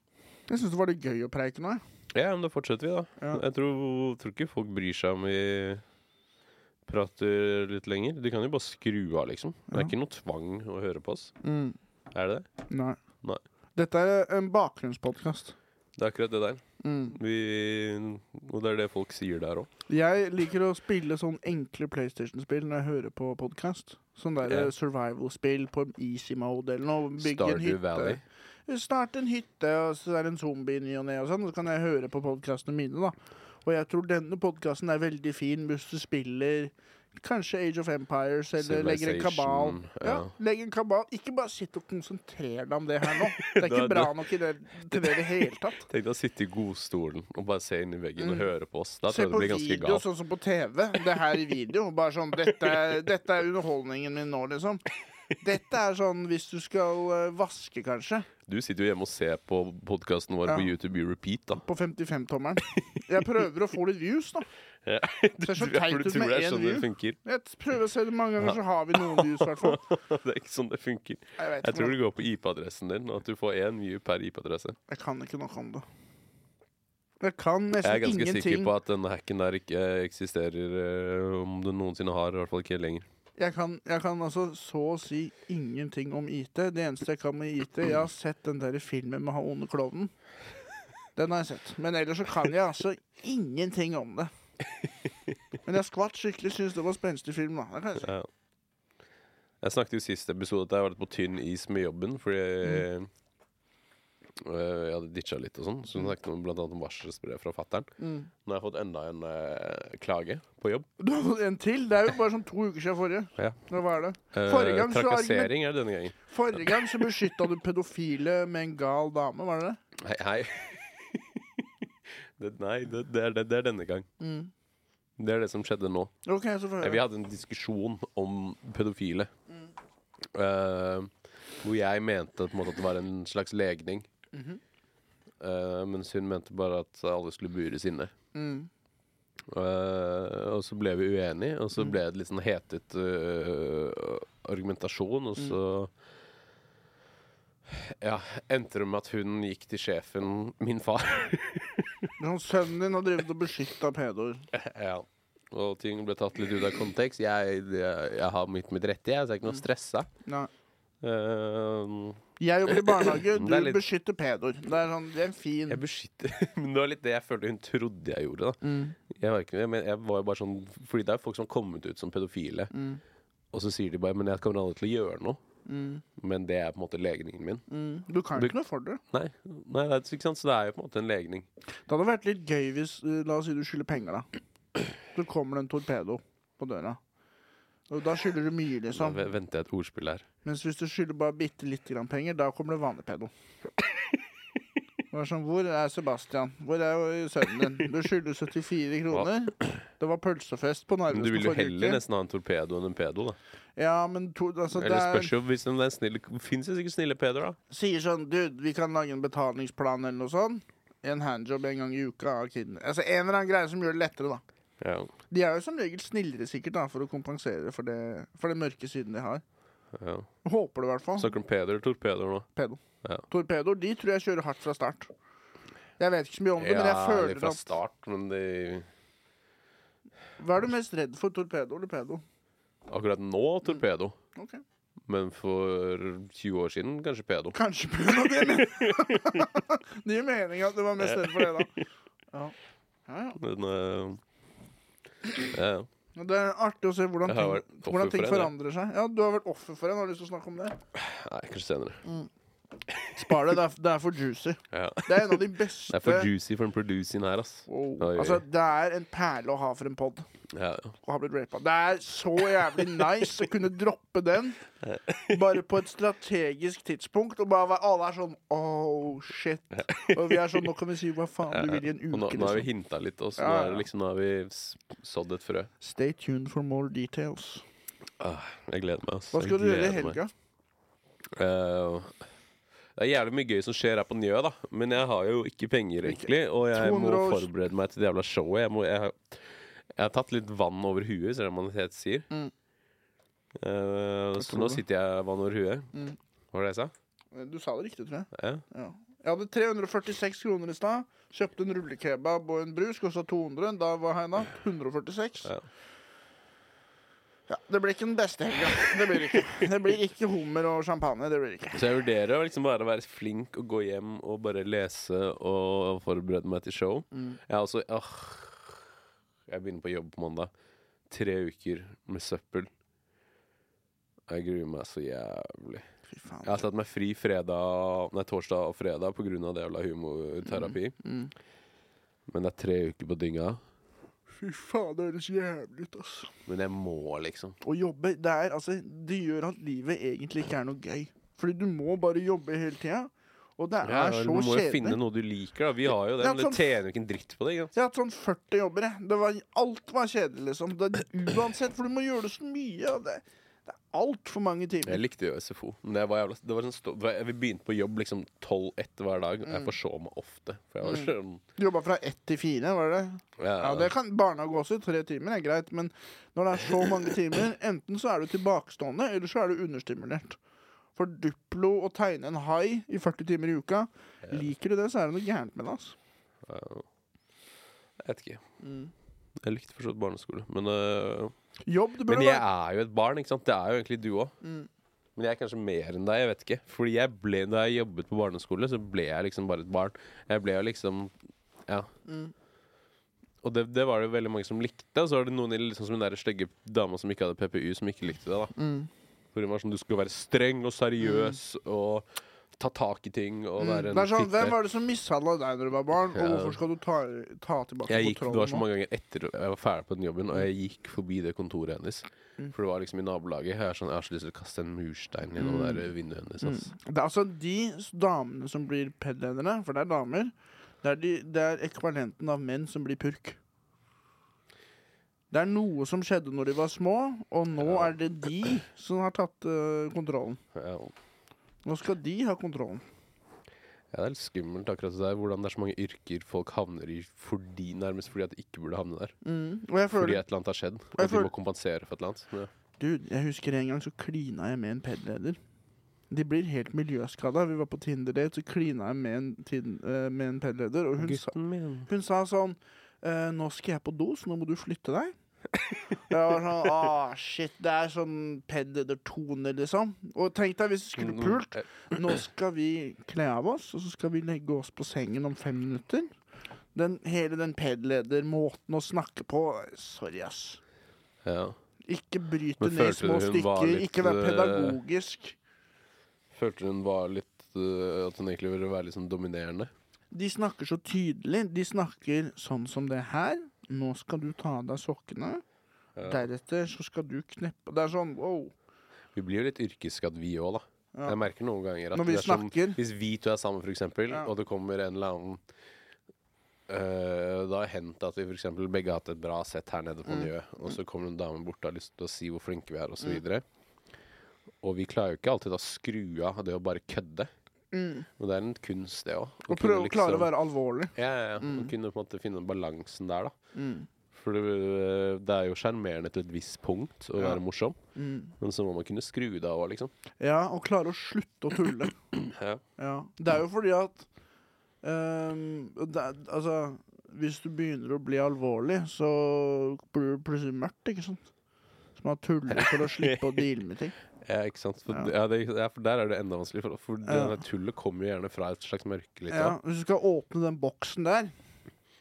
Jeg syns det var litt gøy å preike nå. jeg.
ja, men da fortsetter vi, da.
Ja.
Jeg tror, tror ikke folk bryr seg om vi prater litt lenger. De kan jo bare skru av, liksom. Det er
Ja.
ikke noe tvang å høre på oss.
Mm.
Er det det?
Nei.
Nei.
Dette er en bakgrunnspodkast. Det
Det er akkurat det der.
Mm.
Vi, og det er det folk sier der òg.
Jeg liker å spille sånn enkle PlayStation-spill når jeg hører på podkast. Sånn der
Ja.
eh, survival-spill på easy mode eller noe. Bygge eh.
Stardew
en hytte.
Valley.
Start en hytte, og så er det en zombie i ny og ne, og sånn. Og så kan jeg høre på podkastene mine, da. Og jeg tror denne podkasten er veldig fin hvis du spiller Kanskje Age of Empires, eller legger en kabal.
Civilization,
Ja,
ja.
legg en kabal. Ikke bare sitt og konsentrer deg om det her nå. Det er ikke
Da-
bra
da-
nok i det, til det i det hele tatt.
Tenk deg å sitte i godstolen og bare se inn i veggen og høre på oss. Da
Mm. Se
tror jeg
på
det blir ganske
video,
galt.
sånn som på TV. Det her i video. Bare sånn dette, er- dette er underholdningen min nå, liksom. Dette er sånn hvis du skal eh, vaske, kanskje.
Du sitter jo hjemme og ser på podkasten vår på
Ja.
YouTube i repeat, da.
På 55-tommeren. Jeg prøver å få litt views, da.
Ja.
Det er så
Ja, for
teit
du
ut
tror
med
det er
én
sånn det
view.
funker.
Jeg prøver å se det mange ganger, så har vi noen views, i hvert fall.
Det er ikke sånn det funker.
Jeg,
Jeg
vet ikke
tror
hvordan-
det går på IP-adressen din, og at du får én view per IP-adresse.
jeg kan ikke noe om det. Jeg kan
Jeg er
nesten
ganske sikker
ingenting.
på at denne hacken der ikke eh, eksisterer, eh, om den noensinne har. I hvert fall ikke lenger.
Jeg kan, jeg kan altså så å si ingenting om IT. Det eneste jeg kan med IT Jeg har sett den der filmen med han onde klovnen. Den har jeg sett. Men ellers så kan jeg altså ingenting om det. Men jeg skvatt skikkelig. Syns det var spenstig film. da det kan jeg si.
Ja. Jeg snakket jo i siste episode at jeg var litt på tynn is med jobben, fordi
Mm.
eh, jeg hadde ditcha litt og sånn. Så hun snakket om blant annet om varselsbrev fra fattern.
Mm.
Nå har jeg fått enda en eh, klage på jobb.
Du har fått en til. Det er jo bare sånn to uker siden forrige.
Ja.
Nå, hva er det?
Eh,
Forrige gang så
trakassering er det denne gangen.
Forrige gang så beskytta du pedofile med en gal dame, var det det?
Hei, hei. det, nei, det, det, er, det, det er denne gang.
Mm.
Det er det som skjedde nå.
OK, så får
Eh,
jeg
Vi
høre.
hadde en diskusjon om pedofile. Eh, hvor jeg mente på en måte at det var en slags legning. Eh, mens hun mente bare at alle skulle bures inne.
Mm.
Eh, og så ble vi uenige, og så ble det litt sånn hetet eh, argumentasjon, og så ja, endte det med at hun gikk til sjefen, min far,
Men han sånn, Sønnen din har drevet og beskytta pedoer.
Ja. Og ting ble tatt litt ut av kontekst. Jeg, jeg, jeg har mitt mitt rette, jeg, så jeg er ikke noe stressa.
Nei.
Ehm,
Jeg jobber i barnehage,
Det
du
er litt-
beskytter pedoer. Det er, sånn, det er en fin
jeg beskytter Men det var litt det jeg følte hun trodde jeg gjorde. da
mm,
Jeg, var ikke, men jeg var jo bare sånn Fordi det er folk som har kommet ut som pedofile,
Mm.
og så sier de bare Men jeg kommer aldri til å gjøre noe.
mm,
Men det er på en måte legningen min.
mm. Du kan
Du-
ikke noe for det.
Nei, nei det er, ikke sant? Så det er jo på en måte en legning.
Det hadde vært litt gøy hvis eh, La oss si du skylder penger, da. Så kommer det en torpedo på døra. Og da skylder du mye,
Nå
liksom.
ve- venter jeg et ordspill her.
Mens hvis du skylder bare bitte lite grann penger, da kommer det vanlig pedo. Det var sånn, Hvor er Sebastian? Hvor er eh, sønnen din? Du skylder 74 kroner. Det var pølsefest på
Men du
Narvesen
vil jo
forrige
heller
uke.
nesten ha en torpedo enn en pedo, da.
Ja, men to, altså, det
Eller
er
spørs jo hvis den er snill. Fins det sikkert snille pedoer, da?
sier sånn Dude, vi kan lage en betalingsplan eller noe sånt. En handjob en gang i uka av kiden. Altså En eller annen greie som gjør det lettere, da.
Ja.
De er jo som regel snillere, sikkert, da, for å kompensere for det, for det mørke siden de har.
ja.
Håper det, i hvert fall.
Snakker om pedoer eller torpedoer nå?
Pedo.
Ja.
Torpedoer, de tror jeg kjører hardt fra start. Jeg vet ikke så mye om det, men jeg
Ja,
føler
litt fra
at
start, men de
Hva er du mest redd for? Torpedo eller pedo?
Akkurat nå torpedo,
Ok.
men for 20 år siden kanskje pedo.
Kanskje pedo. Det er men- det gir mening at du var mest redd for det, da. Ja. Ja, ja.
Men eh, ja,
Men Det er artig å se hvordan
Jeg har
ting,
vært offer
hvordan ting
for en, jeg.
forandrer seg. Ja, Du har vært offer for en. Har du lyst til å snakke om det?
Nei, kanskje senere.
Spar det. Det er, det er for juicy.
Ja.
Det er en av de
Det
beste
er for juicy for en producing her, ass.
Wow.
Oi, oi.
Altså, det er en perle å ha for en pod.
Ja, ja.
Og ha blitt rapa. Det er så jævlig nice å kunne droppe den bare på et strategisk tidspunkt. Og bare være, alle er sånn oh shit. Og vi er sånn nå kan vi si hva faen du vil i en
Og nå,
uke.
nå har vi
Liksom.
hinta litt, og så
Ja,
nå er
ja.
det liksom, nå har vi s- sådd et frø.
Stay tuned for more details.
Ah, jeg gleder meg. ass.
Hva
Jeg
skal du gjøre i
gleder meg.
helga?
Eh, det er jævlig mye gøy som skjer her på Njø, da. Men jeg har jo ikke penger, egentlig. Og jeg må
200 og-
forberede meg til det jævla showet. Jeg, må, jeg, har- jeg har tatt litt vann over huet, ser det man helt sier.
Mm.
Eh, så
tror
nå
det.
sitter jeg vann over huet.
Mm.
Hva var det jeg sa?
Du sa det riktig, tror jeg.
Ja.
Ja. Jeg hadde 346 kroner i stad. Kjøpte en rullekebab og en brus. Kosta 200. Da var Heina 146.
Ja.
Ja. Det blir ikke den beste helga. Det blir ikke. Det blir ikke hummer og champagne. Det blir ikke.
Så jeg vurderer å liksom bare være flink og gå hjem og bare lese og forberede meg til show.
Mm.
Jeg er også åh, Jeg begynner på jobb på mandag. Tre uker med søppel. Jeg gruer meg så jævlig.
Fy faen.
Jeg har tatt meg fri fredag, nei, torsdag og fredag pga. det jævla humorterapi.
Mm.
Men det er tre uker på dynga.
Fy faen, det høres jævlig ut, ass.
Men jeg må, liksom.
Å jobbe, det er altså Det gjør at livet egentlig ikke er noe gøy. Fordi du må bare jobbe hele tida. Og det
Ja,
er
vel,
så
du må jo finne
kjedelig.
noe du liker. da Vi har jo det,
Ja,
men
sånn-
det tjener jo ikke en dritt på det. Ikke? sant?
Jeg har hatt sånn 40 jobber, jeg. Det var, alt var kjedelig, liksom. Det, uansett, for du må gjøre det så mye. Og det, det er altfor mange timer.
Jeg likte jo SFO. Men det var jævla, det var sånn stå, det var- vi begynte på jobb liksom tolv-ett hver dag. og
Mm.
Jeg forså meg ofte. For jeg var sånn
Du jobba fra ett til fire, var det? Mm. Ja, det kan Barnehage også, tre timer er greit, men når det er så mange timer, enten så er du tilbakestående, eller så er du understimulert. For Duplo å tegne en hai i 40 timer i uka, liker du det, så er det noe gærent med det, altså.
ja, Jeg vet ikke.
Mm.
Jeg likte for så vidt barneskole. Men, øh,
Jobb,
men
det burde
jeg
være Mm.
er jo et barn, ikke sant? Det er jo egentlig du òg. Men jeg er kanskje mer enn deg. jeg vet ikke Fordi jeg ble, da jeg jobbet på barneskole, så ble jeg liksom bare et barn. Jeg ble jo liksom Ja.
Mm.
Og det, det var det jo veldig mange som likte. Og så var det noen i- liksom, som den der stygge dama som ikke hadde PPU, som ikke likte det. da
Mm.
Hvor hun var sånn, Du skal være streng og seriøs og ta tak i ting. Og være en
Det er Mm. sånn,
fitte.
Hvem var det som mishandla deg når du var barn,
Ja.
og hvorfor skal du ta, ta tilbake
Jeg gikk, det var så
kontrollen? nå?
mange ganger etter jeg var ferdig på den jobben, og jeg gikk forbi det kontoret hennes.
Mm.
For det var liksom i nabolaget. Jeg, er sånn, jeg har så lyst til å kaste en murstein gjennom
Mm.
det der vinduet hennes. Ass.
Det er altså de s- damene som blir pedledere, for det er damer, det er, de, det er ekvivalenten av menn som blir purk. Det er noe som skjedde når de var små, og nå
Ja.
er det de som har tatt øh, kontrollen.
Ja.
Nå skal de ha kontrollen.
Ja, det er litt skummelt akkurat det der, hvordan det er så mange yrker folk havner i fordi, nærmest fordi at de ikke burde havne der.
Og jeg
Mm. Fordi
føler
et eller annet har skjedd, og
Jeg
de
føler-
må kompensere for et eller annet. Ja.
Dude, jeg husker en gang så klina jeg med en pedleder. De blir helt miljøskada. Vi var på Tinder-date, så klina jeg med en, tin- eh, med en pedleder. Og hun sa,
min.
hun sa sånn eh, Nå skal jeg på do, så nå må du flytte deg. Jeg var sånn ah, shit. Det er sånn pedledertone, liksom. Og tenk deg hvis du skulle
Mm.
pult. Nå skal vi kle av oss, og så skal vi legge oss på sengen om fem minutter. Den, hele den pedledermåten å snakke på Sorry, ass.
Ja.
Ikke bryte
Men
ned i
følte
små
du hun var
stykker.
litt,
ikke være
øh,
pedagogisk.
Følte hun var litt øh, At hun egentlig ville være litt sånn dominerende?
De snakker så tydelig. De snakker sånn som det her. Nå skal du ta av deg sokkene. Deretter så skal du kneppe Det er sånn wow.
Vi blir jo litt yrkesskadd, vi òg, da.
Ja.
Jeg merker noen ganger at
Når vi
det er som-
snakker.
Hvis vi to er sammen, for eksempel,
Ja.
og det kommer en eller annen øh, Det har hendt at vi for eksempel begge har hatt et bra sett her nede
Mm.
på Njø, og så kommer en dame bort og har lyst til å si hvor flinke vi er, osv. videre Og vi klarer jo ikke alltid å skru av det å bare kødde. Men det er en kunst, det òg.
Og prøve Mm. liksom å
liksom
klare å være alvorlig.
Ja, ja, ja.
Mm.
Å kunne på en måte finne balansen der, da. For det, eh, det er jo sjarmerende til et visst punkt å være morsom,
Mm.
men så må man kunne skru det av òg, liksom.
Ja, og klare å slutte å tulle.
Ja.
Ja. Det er jo fordi at ehm, det, er- Altså, hvis du begynner å bli alvorlig, så blir det plutselig mørkt, ikke sant? Så man tuller for å slippe å deale med ting.
ikke sant? For,
Ja.
ja. det, ja, for der er det enda vanskeligere. For, for det
Ja.
der tullet kommer jo gjerne fra et slags mørke. Litt,
Ja,
da.
hvis du skal åpne den boksen der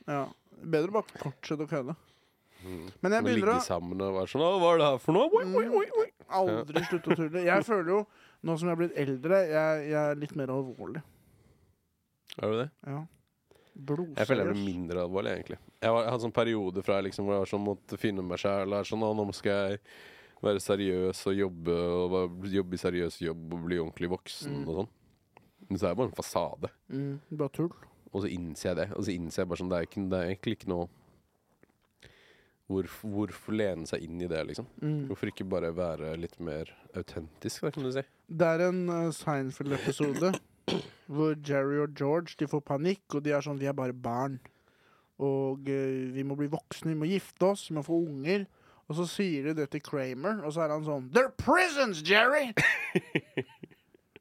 Ja, Bedre bare fortsette å kødde. Men jeg
Å
begynner
Mm. ligge
å Mm.
sammen og være sånn Å, hva er det her for noe? Oi, oi, oi, oi.
aldri slutte å tulle. Jeg føler jo Nå som jeg er blitt eldre, jeg, jeg er litt mer alvorlig. Mm.
Er du det?
Ja.
Jeg føler jeg blir
Blodseriøs.
mindre alvorlig, egentlig. Jeg, var, jeg hadde sånn periode fra jeg liksom, hvor jeg var sånn, måtte finne meg sjæl. Sånn, «Å, nå skal jeg være seriøs og jobbe Og bare jobbe i seriøs jobb og bli ordentlig voksen og sånn. Men så er det bare en fasade.
Mm, bare tull.
Og så innser jeg det. Og så innser jeg bare sånn Det er, ikke, det er egentlig ikke noe Hvorfor, hvorfor lene seg inn i det, liksom?
Mm.
Hvorfor ikke bare være litt mer autentisk, da, kan du si?
Det er en eh, Seinfeld-episode hvor Jerry og George de får panikk, og de er sånn Vi er bare barn. Og eh, vi må bli voksne, vi må gifte oss, vi må få unger. Og så sier de det til Kramer, og så er han sånn They're prisons, Jerry!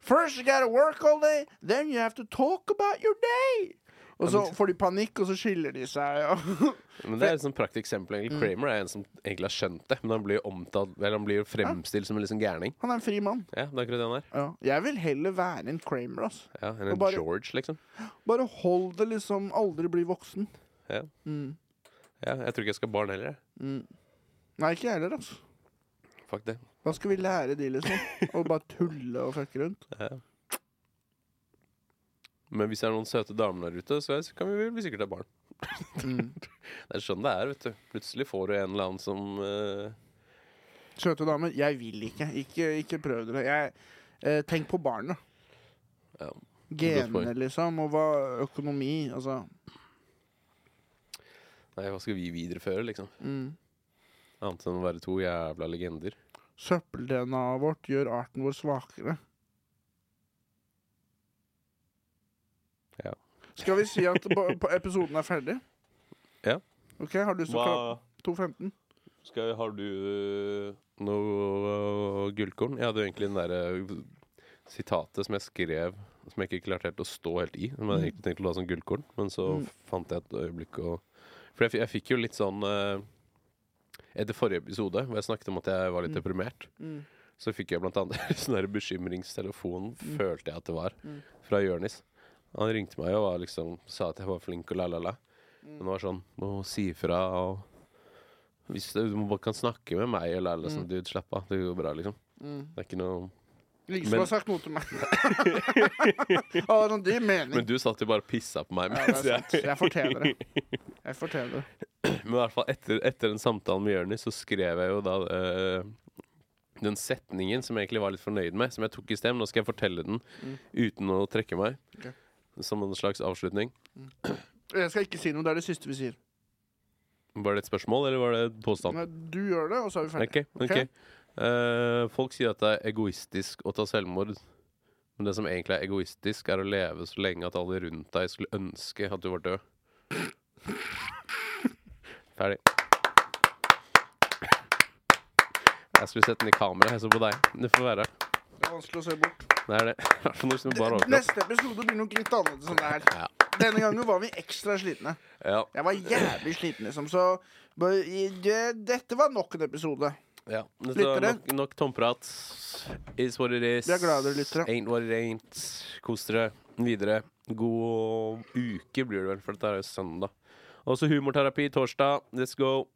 First you gotta work all day, then you have to talk about your day! Og så får de panikk, og så skiller de seg. Og
Men det er et sånt prakteksempel. egentlig. Kramer er en som egentlig har skjønt det, men han blir jo omtalt Eller han blir jo fremstilt som en liksom gærning.
han er en fri mann.
Ah. Ja, det er akkurat det han er.
Ja. Jeg vil heller være en Kramer, ass.
Ja, enn
Og
en
bare-
George, liksom.
Bare hold det liksom aldri bli voksen.
Ja.
Mm.
ja, Jeg tror ikke jeg skal ha barn heller. jeg.
Nei, ikke jeg heller, altså.
Fuck det.
Hva skal vi lære de, liksom? Å bare tulle og fucke rundt?
Ja. Men hvis det er noen søte damer der ute, så kan vi vel sikkert ha barn. Mm. Det er sånn det er, vet du. Plutselig får du en eller annen som eh,
Søte damer, jeg vil ikke. Ikke, ikke prøv dere. Jeg, eh, tenk på barna.
Ja, godt
Genene,
poeng.
liksom, og hva økonomi Altså.
Nei, hva skal vi videreføre, liksom?
Mm.
Annet enn å være to jævla legender.
Søppel-DNA-et vårt gjør arten vår svakere.
Ja.
Skal vi si at på, på episoden er ferdig?
Ja.
OK, har du lyst til å klappe? 2.15.
Skal, har du eh, noe øh, gullkorn? Jeg hadde jo egentlig den derre øh, sitatet som jeg skrev, som jeg ikke klarte helt å stå helt i. Som jeg egentlig tenkte å la som gullkorn, men så
Mm.
fant jeg et øyeblikk å For jeg, fi- jeg fikk jo litt sånn øh, Etter forrige episode, hvor jeg snakket om at jeg var litt
Mm.
deprimert,
Mm.
så fikk jeg blant annet sånn der bekymringstelefon, følte jeg at det var,
Mm.
fra Jørnis. Han ringte meg og var liksom, sa at jeg var flink og la-la-la.
Mm.
Men det var sånn Må si ifra og Hvis du du bare kan snakke med meg og la-la som
Mm.
dude, slapp av. Det går bra, liksom.
Mm.
Det er ikke noe
Liksom
Men-
har sagt noe til meg. ah, sånn, det gir mening.
Men du satt jo bare og pissa på meg.
Ja,
mens
det er
jeg-
sant. Jeg fortjener det. Jeg fortjener det.
Men i hvert fall etter, etter den samtalen med Jørnis, så skrev jeg jo da eh, den setningen som jeg egentlig var litt fornøyd med, som jeg tok i sted. men Nå skal jeg fortelle den uten å trekke meg.
Mm. Ok.
Som en slags avslutning.
Jeg skal ikke si noe. Det er det siste vi sier.
Var det et spørsmål, eller var det en påstand?
Nei, du gjør det, og så er vi ferdig.
Ok, ok.
Ok.
Eh, folk sier at det er egoistisk å ta selvmord. Men det som egentlig er egoistisk, er å leve så lenge at alle rundt deg skulle ønske at du var død. Ferdig. Jeg skulle sette den i kamera. Jeg så på deg. Det får være.
Det er vanskelig å se bort.
Det er det. I hvert fall når du bare overkropp.
Neste episode blir nok litt annerledes enn det
Ja.
her. Denne gangen var vi ekstra slitne.
Ja,
Jeg var jævlig sliten, liksom, så bare, i- det- Dette var nok en episode.
ja. Dette var
Lyttere?
nok, nok tomprat. Is what it is.
Vi er glad dere lytter, ja.
Ain't what it ain't. Kos dere videre. God uke blir det vel, for dette er jo søndag. Også humorterapi torsdag. Let's go.